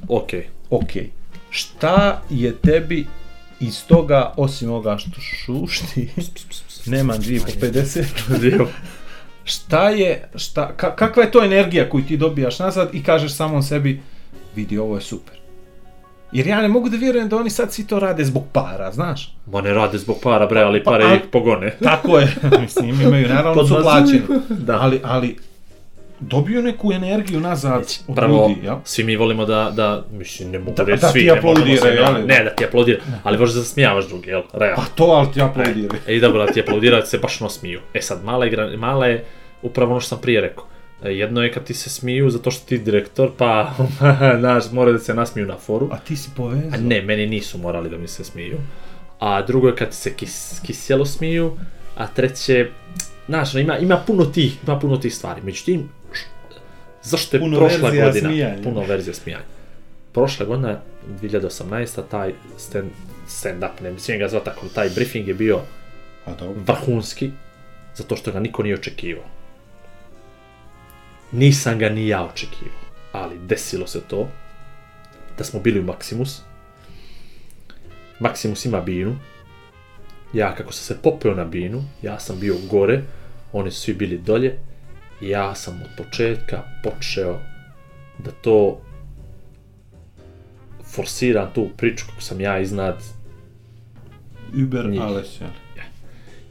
C: Ok.
B: ok. Šta je tebi iz toga, osim ovoga što šušti, nemam 2 po 50, šta je, šta, ka, kakva je to energija koju ti dobijaš nazad i kažeš samom sebi, vidi ovo je super. Jer ja ne mogu da vjerujem da oni sad svi to rade zbog para, znaš?
C: Ma ne rade zbog para, bre, ali pare
B: Pa, a-
C: ih pogone.
B: Tako je, mislim, imaju, naravno su
C: Podbacuju.
B: plaćeni.
C: Da.
B: Ali, ali, dobio neku energiju nazad od
C: Prvo,
B: ljudi, jel?
C: svi mi volimo da, da mislim, ne mogu
B: Da-
C: da, reći
B: da
C: svi,
B: ti
C: ne možemo se,
B: aplaudiraju,
C: ne,
B: jel?
C: ne, da ti aplaudiraju, ali možeš da smijavaš druge, jel, realno.
B: Pa to, ali ti aplaudiraju.
C: E i dobro, da ti aplaudiraju, da se baš ono smiju. E sad, mala, igra, mala je upravo ono što sam prije rekao. E, Jedno je kad ti se smiju zato što ti direktor, pa, znaš, mora da se nasmiju na foru.
B: A ti si povezan.
C: A ne, meni nisu morali da mi se smiju. A drugo je kad se kis, kisjelo smiju, a treće, znaš, ono, ima, ima puno tih, ima puno tih stvari. Međutim, š- zašto je
B: Puno
C: prošla
B: verzija
C: godina,
B: smijanja.
C: puno verzija smijanja. Prošla godina, 2018. taj stand, stand up, ne mislim ga zvati tako, taj briefing je bio
B: A Pa dobro.
C: vrhunski, zato što ga niko nije očekivao. Nisam ga ni ja očekivao, ali desilo se to da smo bili u Maximus. Maximus ima binu. Ja kako sam se popeo na binu, ja sam bio gore, oni su svi bili dolje. i Ja sam od početka počeo da to forsiram tu priču kako sam ja iznad
B: Uber
C: Njih.
B: Ales, jel?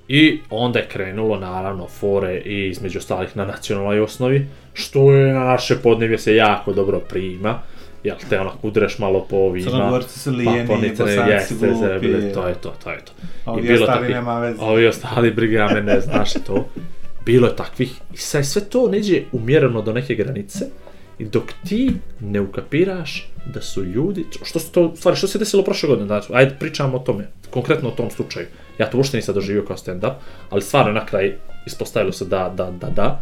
C: I onda je krenulo naravno fore i između ostalih na nacionalnoj osnovi, što je na naše podnevje se jako dobro prima, jel te onako udreš malo po ovima.
B: Crnogorci su lijeni,
C: Paponice,
B: Bosanci
C: jeste,
B: glupi.
C: zebile, to je to, to je to.
B: A
C: I
B: ovi
C: bilo
B: ostali
C: takvih-
B: nema veze.
C: Ovi ostali briga me ne znaš i to. Bilo je takvih. I sad sve to neđe umjereno do neke granice i dok ti ne ukapiraš da su ljudi, što su to, u stvari, što se desilo prošle godine, znači, ajde pričamo o tome, konkretno o tom slučaju. Ja to uopšte nisam doživio kao stand-up, ali stvarno na kraj ispostavilo se da, da, da, da.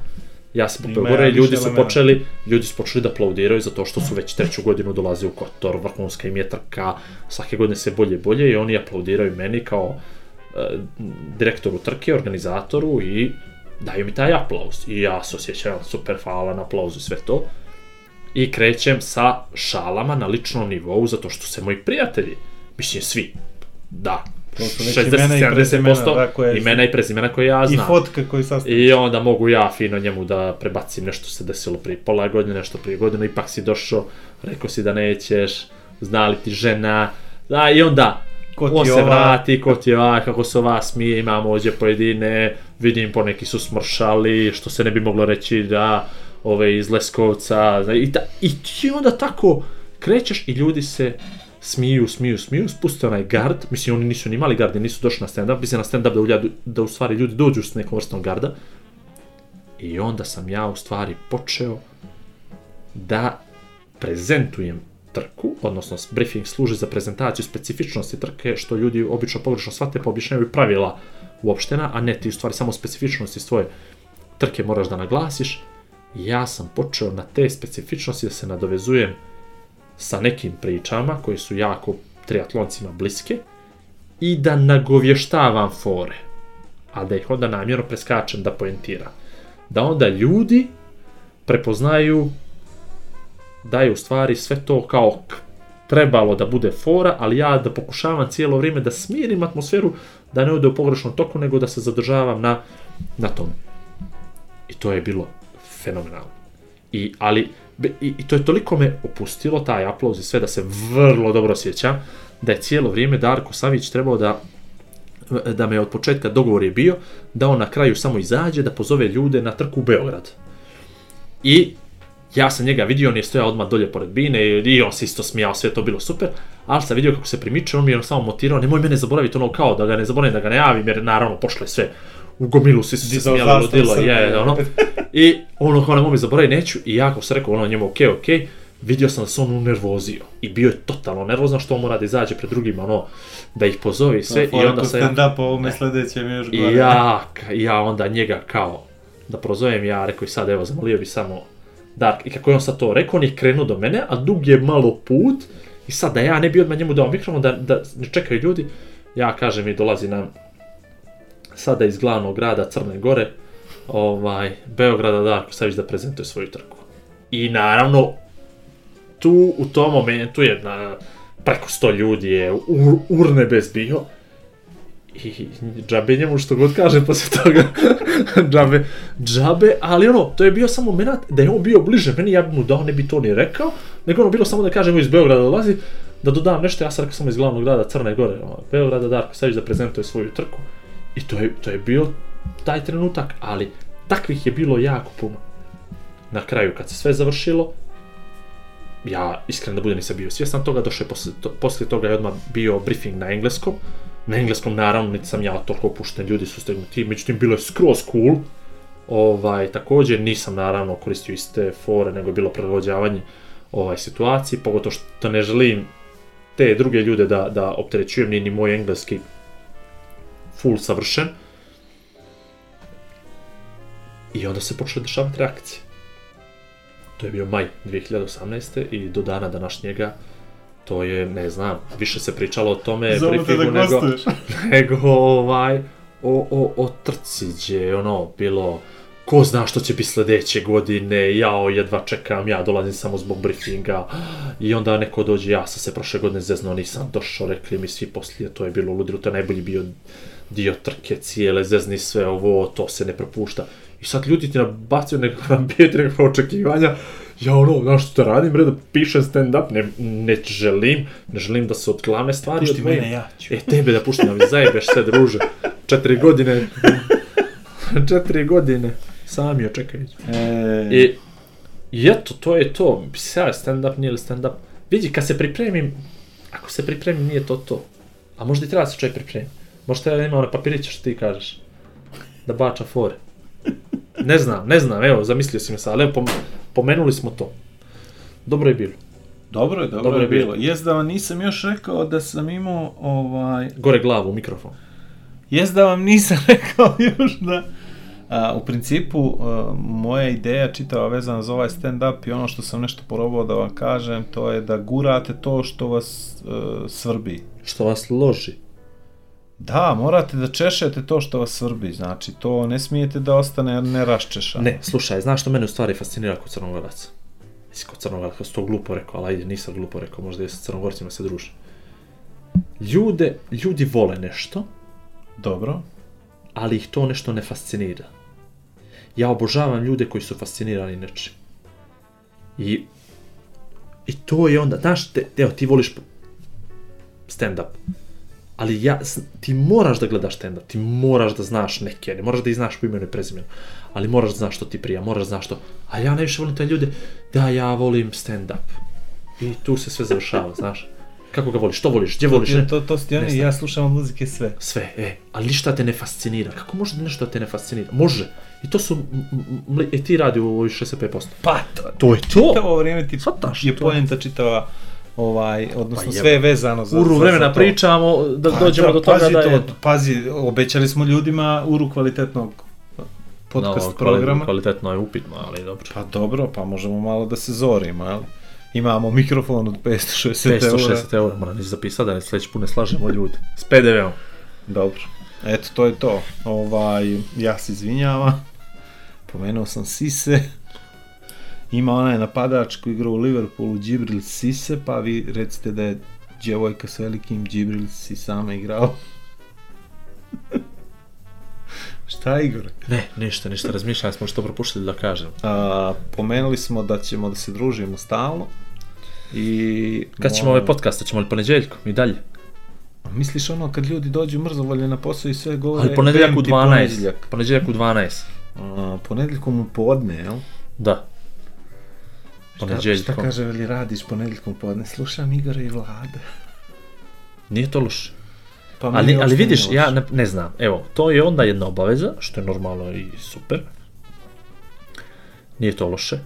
C: Ja sam popeo
B: Ima
C: gore i
B: više
C: ljudi su
B: elemenata.
C: počeli, ljudi su počeli da aplaudiraju zato što su već treću godinu dolaze u Kotor, vrhunska im je trka, svake godine sve bolje i bolje i oni aplaudiraju meni kao e, direktoru trke, organizatoru i daju mi taj aplauz. I ja se osjećam super hvala na aplauzu i sve to. I krećem sa šalama na ličnom nivou zato što se moji prijatelji, mislim svi, da,
B: To su već imena i
C: 60-70%
B: prezimena, da, koje-
C: imena i prezimena koje ja
B: I
C: znam.
B: fotka koju sastavlja.
C: I onda mogu ja fino njemu da prebacim nešto se desilo prije pola godine, nešto prije godine, ipak si došao, rekao si da nećeš, znali ti žena, da, i onda
B: Ko ti
C: on
B: je
C: se
B: ova?
C: vrati, ko ti je ova, kako se ova smije, imamo ovdje pojedine, vidim poneki su smršali, što se ne bi moglo reći da ove iz Leskovca, zna- i, ta, i ti onda tako krećeš i ljudi se smiju, smiju, smiju, spuste onaj gard, mislim oni nisu ni imali gard, jer nisu došli na stand-up, mislim na stand-up da, uljadu, da u stvari ljudi dođu s nekom vrstom garda, i onda sam ja u stvari počeo da prezentujem trku, odnosno briefing služi za prezentaciju specifičnosti trke, što ljudi obično pogrešno shvate pa objašnjavaju pravila uopštena, a ne ti u stvari samo specifičnosti svoje trke moraš da naglasiš. Ja sam počeo na te specifičnosti da se nadovezujem sa nekim pričama koje su jako triatloncima bliske i da nagovještavam fore, a da ih onda namjerno preskačem da poentiram. Da onda ljudi prepoznaju da je u stvari sve to kao k- trebalo da bude fora, ali ja da pokušavam cijelo vrijeme da smirim atmosferu, da ne ode u pogrešnom toku, nego da se zadržavam na, na tome. I to je bilo fenomenalno. I, ali, be- i, i to je toliko me opustilo, taj aplauz i sve, da se vrlo dobro osjećam, da je cijelo vrijeme Darko Savić trebao da da me od početka dogovor je bio da on na kraju samo izađe da pozove ljude na trku u Beograd. I ja sam njega vidio, on je stojao odmah dolje pored bine i- i on se isto smijao, sve je to bilo super, ali sam vidio kako se primiče, on mi je ono samo motirao, nemoj mene zaboraviti, ono kao da ga ne zaboravim, da ga ne javim, jer naravno pošlo je sve u gomilu, svi su se
B: Dizao
C: smijali,
B: zastavu
C: ludilo,
B: Srbije.
C: je, ono. I ono kao nemoj me zaboraviti, neću, i ja kao sam rekao, ono njemu okej, okej, vidio sam da se on unervozio i bio je totalno nervozan što on mora da izađe pred drugima ono da ih pozove i sve i onda sam ja,
B: stand up ovome sledećem je još
C: i
B: gore.
C: ja, i ja onda njega kao da prozovem ja rekao i sad evo zamolio bi samo Dark i kako je on sad to rekao on je krenuo do mene a dug je malo put i sad da ja ne bi odmah njemu dao mikrofon da, da ne čekaju ljudi ja kažem i dolazi nam sada iz glavnog grada Crne Gore ovaj, Beograda Darko Savić da prezentuje svoju trku i naravno tu u tom momentu jedna preko 100 ljudi je ur, urne bez bio i džabe njemu što god kaže posle toga džabe, džabe, ali ono, to je bio samo moment da je on bio bliže meni, ja bi mu dao, ne bi to ni rekao, nego ono bilo samo da kažemo iz Beograda dolazi, da dodam nešto, ja sam rekao samo iz glavnog grada Crne Gore, ono, Beograda, Darko Savić da prezentuje svoju trku i to je, to je bio taj trenutak, ali takvih je bilo jako puno. Na kraju kad se sve završilo, ja iskreno da budem nisam bio svjestan toga, došao je posle, to, posle toga je odmah bio briefing na engleskom, na engleskom naravno niti sam ja toliko opušten, ljudi su stegnuti, međutim bilo je skroz cool, ovaj, također nisam naravno koristio iste fore, nego je bilo prilagođavanje ovaj situaciji, pogotovo što ne želim te druge ljude da, da opterećujem, nije ni moj engleski full savršen. I onda se počele dešavati reakcije. To je bio maj 2018. i do dana današnjega to je, ne znam, više se pričalo o tome
B: Zovu te da
C: briefingu nego,
B: gostuješ.
C: nego ovaj, o, o, o trci gdje je ono bilo ko zna što će biti sljedeće godine, jao, jedva čekam, ja dolazim samo zbog briefinga i onda neko dođe, ja sam se prošle godine zezno, nisam došao, rekli mi svi poslije, to je bilo ludilo, to je najbolji bio dio trke cijele, zezni sve ovo, to se ne propušta. I sad ljudi ti nabacuju nekakve ambijete, nekakve očekivanja, ja ono, znaš što radim, bre, da pišem stand-up, ne, ne želim, ne želim da se od glavne stvari
D: Pušti
C: odvojim.
D: mene, ja ću.
C: E, tebe da puštim, da mi zajebeš sve, druže. Četiri godine. Četiri godine. Sam je, čekaj.
B: E,
C: I, I eto, to je to. Sada stand-up, nije li stand-up. Vidi, kad se pripremim, ako se pripremim, nije to to. A možda i treba da se čovjek pripremi. Možda ja imam one papiriće što ti kažeš. Da bača fore. Ne znam, ne znam, evo, zamislio si me sad, ali evo, pom pomenuli smo to. Dobro je bilo.
B: Dobro je, dobro,
C: Dobro
B: je
C: je bilo.
B: bilo. Jest da vam nisam još rekao da sam imao ovaj...
C: Gore glavu, u mikrofon.
B: Jest da vam nisam rekao još da... A, u principu, a, moja ideja čitava vezana za ovaj stand-up i ono što sam nešto probao da vam kažem, to je da gurate to što vas e, svrbi.
C: Što vas loži.
B: Da, morate da češete to što vas svrbi, znači to ne smijete da ostane neraščešano.
C: Ne, slušaj, znaš što mene u stvari fascinira kod crnogoraca? Mislim, kod crnogoraca, to glupo rekao, ali ajde, nisam glupo rekao, možda je sa crnogorcima se družim. Ljude, ljudi vole nešto,
B: Dobro.
C: ali ih to nešto ne fascinira. Ja obožavam ljude koji su fascinirani nečim. I, i to je onda, znaš, te, evo, ti voliš stand-up, ali ja, s- ti moraš da gledaš stand-up, ti moraš da znaš neke, ne moraš da ih znaš po imenu i prezimenu, ali moraš da znaš što ti prija, moraš da znaš što, a ja najviše volim te ljude, da ja volim stand-up. I tu se sve završava, znaš. Kako ga voliš, što voliš, gdje voliš, ne?
B: To, to, to ste
C: Ne
B: oni,
C: znam.
B: ja slušam od muzike sve.
C: sve, e, ali ništa te ne fascinira. Kako može da nešto da te ne fascinira? Može. I to su, m- m- mli- e, ti radi u ovoj 65%.
B: Pa, to,
C: To je
B: čitavo vrijeme ti
C: Svataš,
B: je
C: to
B: poenta čitava ovaj, odnosno
C: Pa jebe.
B: sve je vezano za
C: Uru
B: za-
C: vremena
B: za to.
C: pričamo, da
B: Pa
C: dođemo do toga
B: pazi
C: da je...
B: To, pazi, obećali smo ljudima uru kvalitetnog podcast
C: No, kvali-
B: programa.
C: Kvalitetno je upitno, ali dobro.
B: Pa dobro, pa možemo malo da se zorimo, jel? Imamo mikrofon od 560 eura.
C: 560 eura, moram niš zapisati da ne sljedeći put ne slažemo ljudi. S PDV-om.
B: Dobro. Eto, to je to. Ovaj, ja se izvinjavam. Pomenuo sam Sise. Ima onaj napadač koji igra u Liverpoolu, Džibril Sise, pa vi recite da je djevojka s velikim Džibril Sisama igrao. Šta je Igor?
C: Ne, ništa, ništa, razmišljali smo što propuštili da kažem.
B: A, pomenuli smo da ćemo da se družimo stalno. I
C: Kad ćemo ovaj ove podcaste, ćemo li ponedjeljkom i dalje?
B: Misliš ono kad ljudi dođu mrzovolje na posao i sve govore...
C: Ali ponedjeljak u
B: "Vem ti
C: 12.
B: ponedjeljak."
C: Ponedjeljak u 12.
B: A, ponedjeljkom u podne, jel?
C: Da.
B: Šta, šta
C: Ponedjeljkom.
B: kaže veli radiš ponedjeljkom podne? Slušam Igora i Vlada.
C: Nije to loše.
B: Pa meni
C: Ali,
B: uopšte
C: ali vidiš,
B: nije
C: ja
B: loše.
C: ne, ne znam, evo, to je onda jedna obaveza, što je normalno i super. Nije to loše.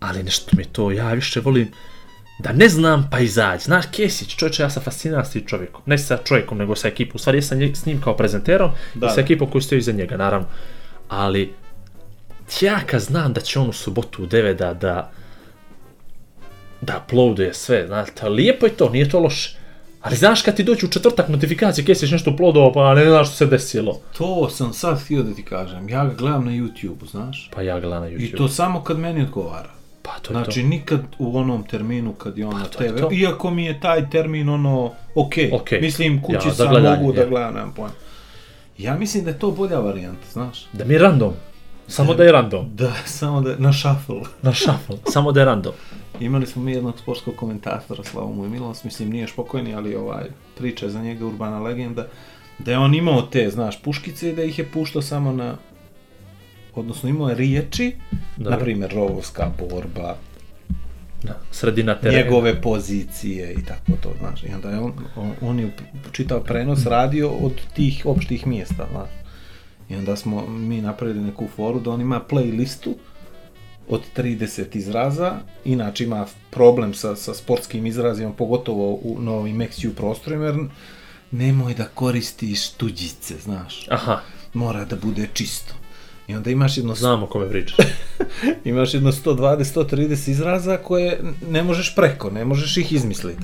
C: ali nešto mi je to, ja više volim da ne znam pa izađi. Znaš, Kesić, čovječe, ja sam fasciniran s tim čovjekom. Ne sa čovjekom, nego sa ekipom. U stvari, ja sam nje- s njim kao prezenterom da. i sa ekipom koji stoji iza njega, naravno. Ali, ja kad znam da će on u subotu u 9 da, da, da uploaduje sve, znaš, ta, lijepo je to, nije to loše. Ali znaš kad ti dođe u četvrtak notifikacije Kesić nešto uploadovao, pa ne znaš što se desilo.
B: To sam sad htio da ti kažem. Ja ga gledam na YouTube, znaš?
C: Pa ja gledam na YouTube.
B: I to samo kad meni odgovara.
C: pa to je
B: Znači, nikad u onom terminu kad je on na
C: to je
B: TV.
C: to.
B: Iako mi je taj termin ono, okej.
C: Okej.
B: Mislim, kući
C: Ja, za
B: sam
C: gledanje,
B: mogu da
C: je.
B: gledam, nemam pojma. Ja mislim da je to bolja varijanta, znaš?
C: to. Da mi je random. Samo da je random.
B: Da, samo da, na shuffle.
C: Na shuffle. Samo da je random.
B: Imali smo mi jednog sportskog komentatora, slavu mu i milost, mislim nije špokojni, ali ovaj, priča je za njega urbana legenda, da je on imao te, znaš, puškice i da ih je puštao samo na, odnosno imao je riječi, na primjer, rovovska borba,
C: Da, sredina terena.
B: njegove pozicije i tako to, znaš, i onda je on, on, on je čitav prenos radio od tih opštih mjesta, znaš. I onda smo mi napravili neku foru da on ima playlistu od 30 izraza, inače ima problem sa, sa sportskim izrazima, pogotovo u novim Meksiju prostorima, jer nemoj da koristiš tuđice, znaš,
C: Aha,
B: mora da bude čisto. I onda imaš jedno
C: znamo o kome pričaš.
B: Imaš jedno 120, 130 izraza koje ne možeš preko, ne možeš ih izmisliti.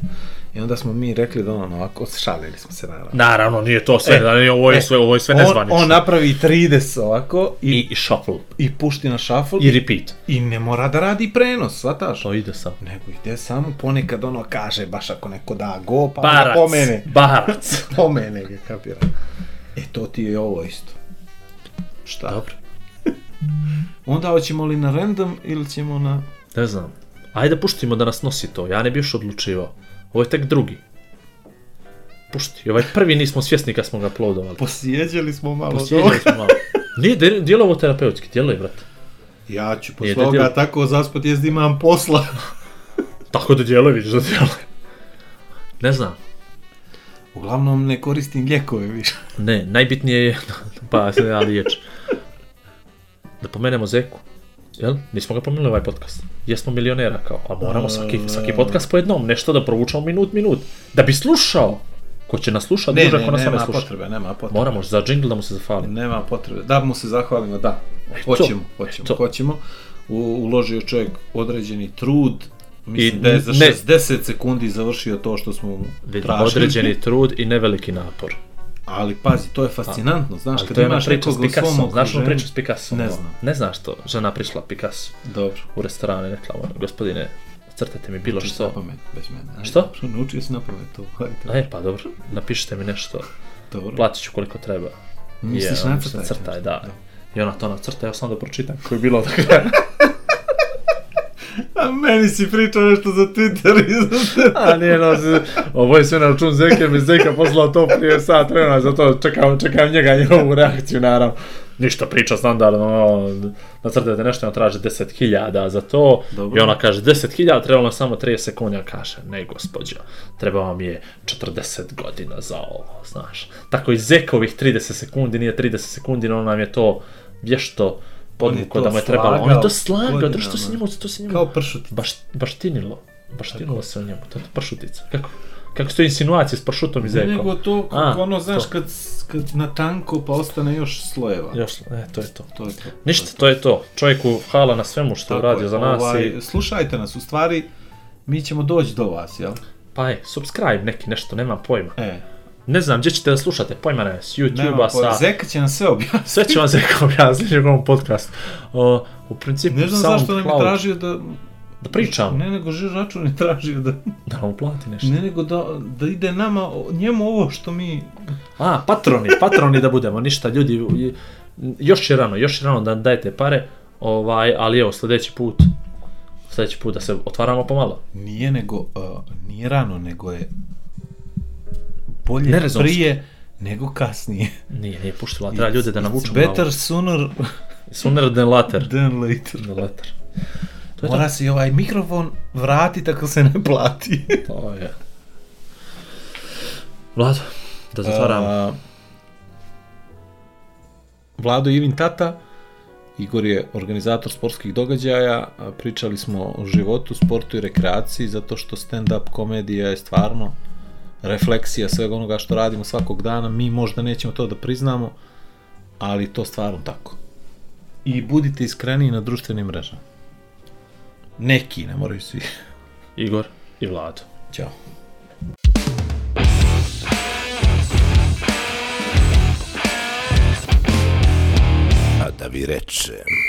B: I onda smo mi rekli da ono, ovako, šalili smo se naravno.
C: Naravno, nije to sve, E, da nije, ovo je sve, ovo je sve
B: E, On,
C: nezvanično.
B: on napravi 30 ovako i,
C: I, i shuffle.
B: i pušti na shuffle
C: I
B: i,
C: repeat.
B: i ne mora da radi prenos, shvataš?
C: To ide sam.
B: Nego ide samo ponekad ono kaže, baš ako neko da go, pa
C: Barac.
B: Barac. pomene.
C: Barac.
B: Pomene ga, kapira. E, to ti je ovo isto. Šta?
C: Dobro.
B: Onda hoćemo li na random ili ćemo na...
C: Ne znam. Ajde puštimo da nas nosi to, ja ne bi još odlučivao. Ovo je tek drugi. Pušti, ovaj prvi nismo svjesni kad smo ga uploadovali.
B: Posjeđali smo malo
C: Posjeđali smo malo. Nije, dje- djelovo terapeutski, djeluje, brate.
B: Ja ću
C: Nije
B: posle ovoga
C: debilo.
B: tako zaspat jest da imam posla.
C: Tako da djeluje, vidiš da djeluje. Ne znam.
B: Uglavnom ne koristim ljekove više.
C: Ne, najbitnije je, pa se ja riječ, da pomenemo Zeku. Jel? Nismo ga pomenuli ovaj podcast. Jesmo milionera kao, a moramo svaki, svaki podcast po jednom, nešto da provučamo minut, minut. Da bi slušao. Ko će nas slušati, duže ako Pa nas ne sluša.
B: nema potrebe.
C: Moramo za džingl da mu se zafali.
B: Nema potrebe. Da mu se zahvalimo, da.
C: Eto,
B: Hoćemo, hoćemo,
C: eto.
B: hoćemo. U, uložio čovjek određeni trud. Mislim
C: I
B: I, da je za
C: ne-
B: 60 sekundi završio to što smo mu
C: Vidim,
B: tražili.
C: određeni trud i neveliki napor.
B: Ali pazi, to je fascinantno, znaš,
C: Ali
B: kad
C: to je ona
B: imaš
C: priča
B: nekog
C: s
B: u svom
C: Picassom. Znaš onu
B: okruženju.
C: priču s Picassom?
B: Ne
C: ono?
B: znam.
C: Ne znaš to. Žena prišla Picasso
B: Dobro,
C: u restoran i rekla, ono, gospodine, crtajte mi bilo
B: naučio si na
C: što.
B: pamet, već mene. Ajde,
C: Što?
B: Naučio si na pamet to, ajde,
C: E, pa dobro, napišite mi nešto.
B: dobro.
C: platit ću koliko treba.
B: Misliš
C: I, um,
B: nacrtaj
C: sam Crtaj,
B: nešto?
C: da. I ona to nacrta, ja sam da pročitam koji je bilo od kraja.
B: A meni si pričao nešto za Twitter i za
C: A nije nas, ovo je sve na račun Zeke, mi Zeka poslao to prije sat vremena, zato čekam, čekam njega i njegovu reakciju, naravno. Ništa priča standardno, ono, nacrtajte nešto, ona traži 10.000 za to,
B: Dobro.
C: i ona kaže 10.000, trebalo nam samo 30 sekundi, ona kaže, ne gospođo, treba vam je 40 godina za ovo, znaš. Tako i Zeka ovih 30 sekundi, nije 30 sekundi, no nam je to vješto podvukao
B: to
C: da mu je trebalo. On je to
B: slagao
C: slagao, to što se
B: godinama.
C: njemu, to se njemu
B: Kao pršuti.
C: baš, baštinilo. Baštinilo se u njemu, to je ta pršutica. Kako, kako su to insinuacije s pršutom i
B: Ne,
C: zekom?
B: nego to,
C: A,
B: kako ono, znaš,
C: to.
B: kad, kad na tanko pa ostane još slojeva.
C: Još, e, to je to.
B: To je to.
C: Ništa, to je to. Čovjeku hvala na svemu što je
B: Tako
C: uradio
B: je,
C: za nas
B: ovaj,
C: i...
B: Slušajte nas, u stvari, mi ćemo doći do vas, jel?
C: Pa je, subscribe neki nešto, nemam pojma.
B: E,
C: Ne znam gdje ćete da slušate, pojma ne, s YouTube-a,
B: pojma.
C: sa...
B: Zeka će nam sve objasniti.
C: Sve ću vam zeko objasniti u ovom podcastu. O, u principu,
B: Ne znam zašto nam je
C: SoundCloud,
B: tražio da...
C: da pričam,
B: Ne, nego žir račun je tražio da...
C: da nam plati nešto.
B: Ne, nego da, da ide nama, o- njemu ovo što mi...
C: A, patroni, patroni da budemo, ništa ljudi, i- još je rano, još je rano da dajete pare, ovaj, ali evo, sljedeći put, sljedeći put da se otvaramo pomalo.
B: Nije nego, uh, nije rano, nego je bolje
C: Nerezonski.
B: prije nego kasnije.
C: Nije, nije puštila, treba ljude da navučemo.
B: It's better sooner
C: malo. Sooner than later.
B: than later.
C: Than later. To je
B: Mora se i ovaj mikrofon vratiti ako se ne plati.
C: to, to je. Vlado, da zatvaramo.
B: A, Vlado Ivin tata Igor je organizator sportskih događaja, a pričali smo o životu, sportu i rekreaciji, zato što stand-up komedija je stvarno refleksija svega onoga što radimo svakog dana. Mi možda nećemo to da priznamo, ali to stvarno tako. I budite iskreni na društvenim mrežama. Neki, ne moraju svi.
C: Igor i Vlado.
B: Ćao.
E: A da vi rečem.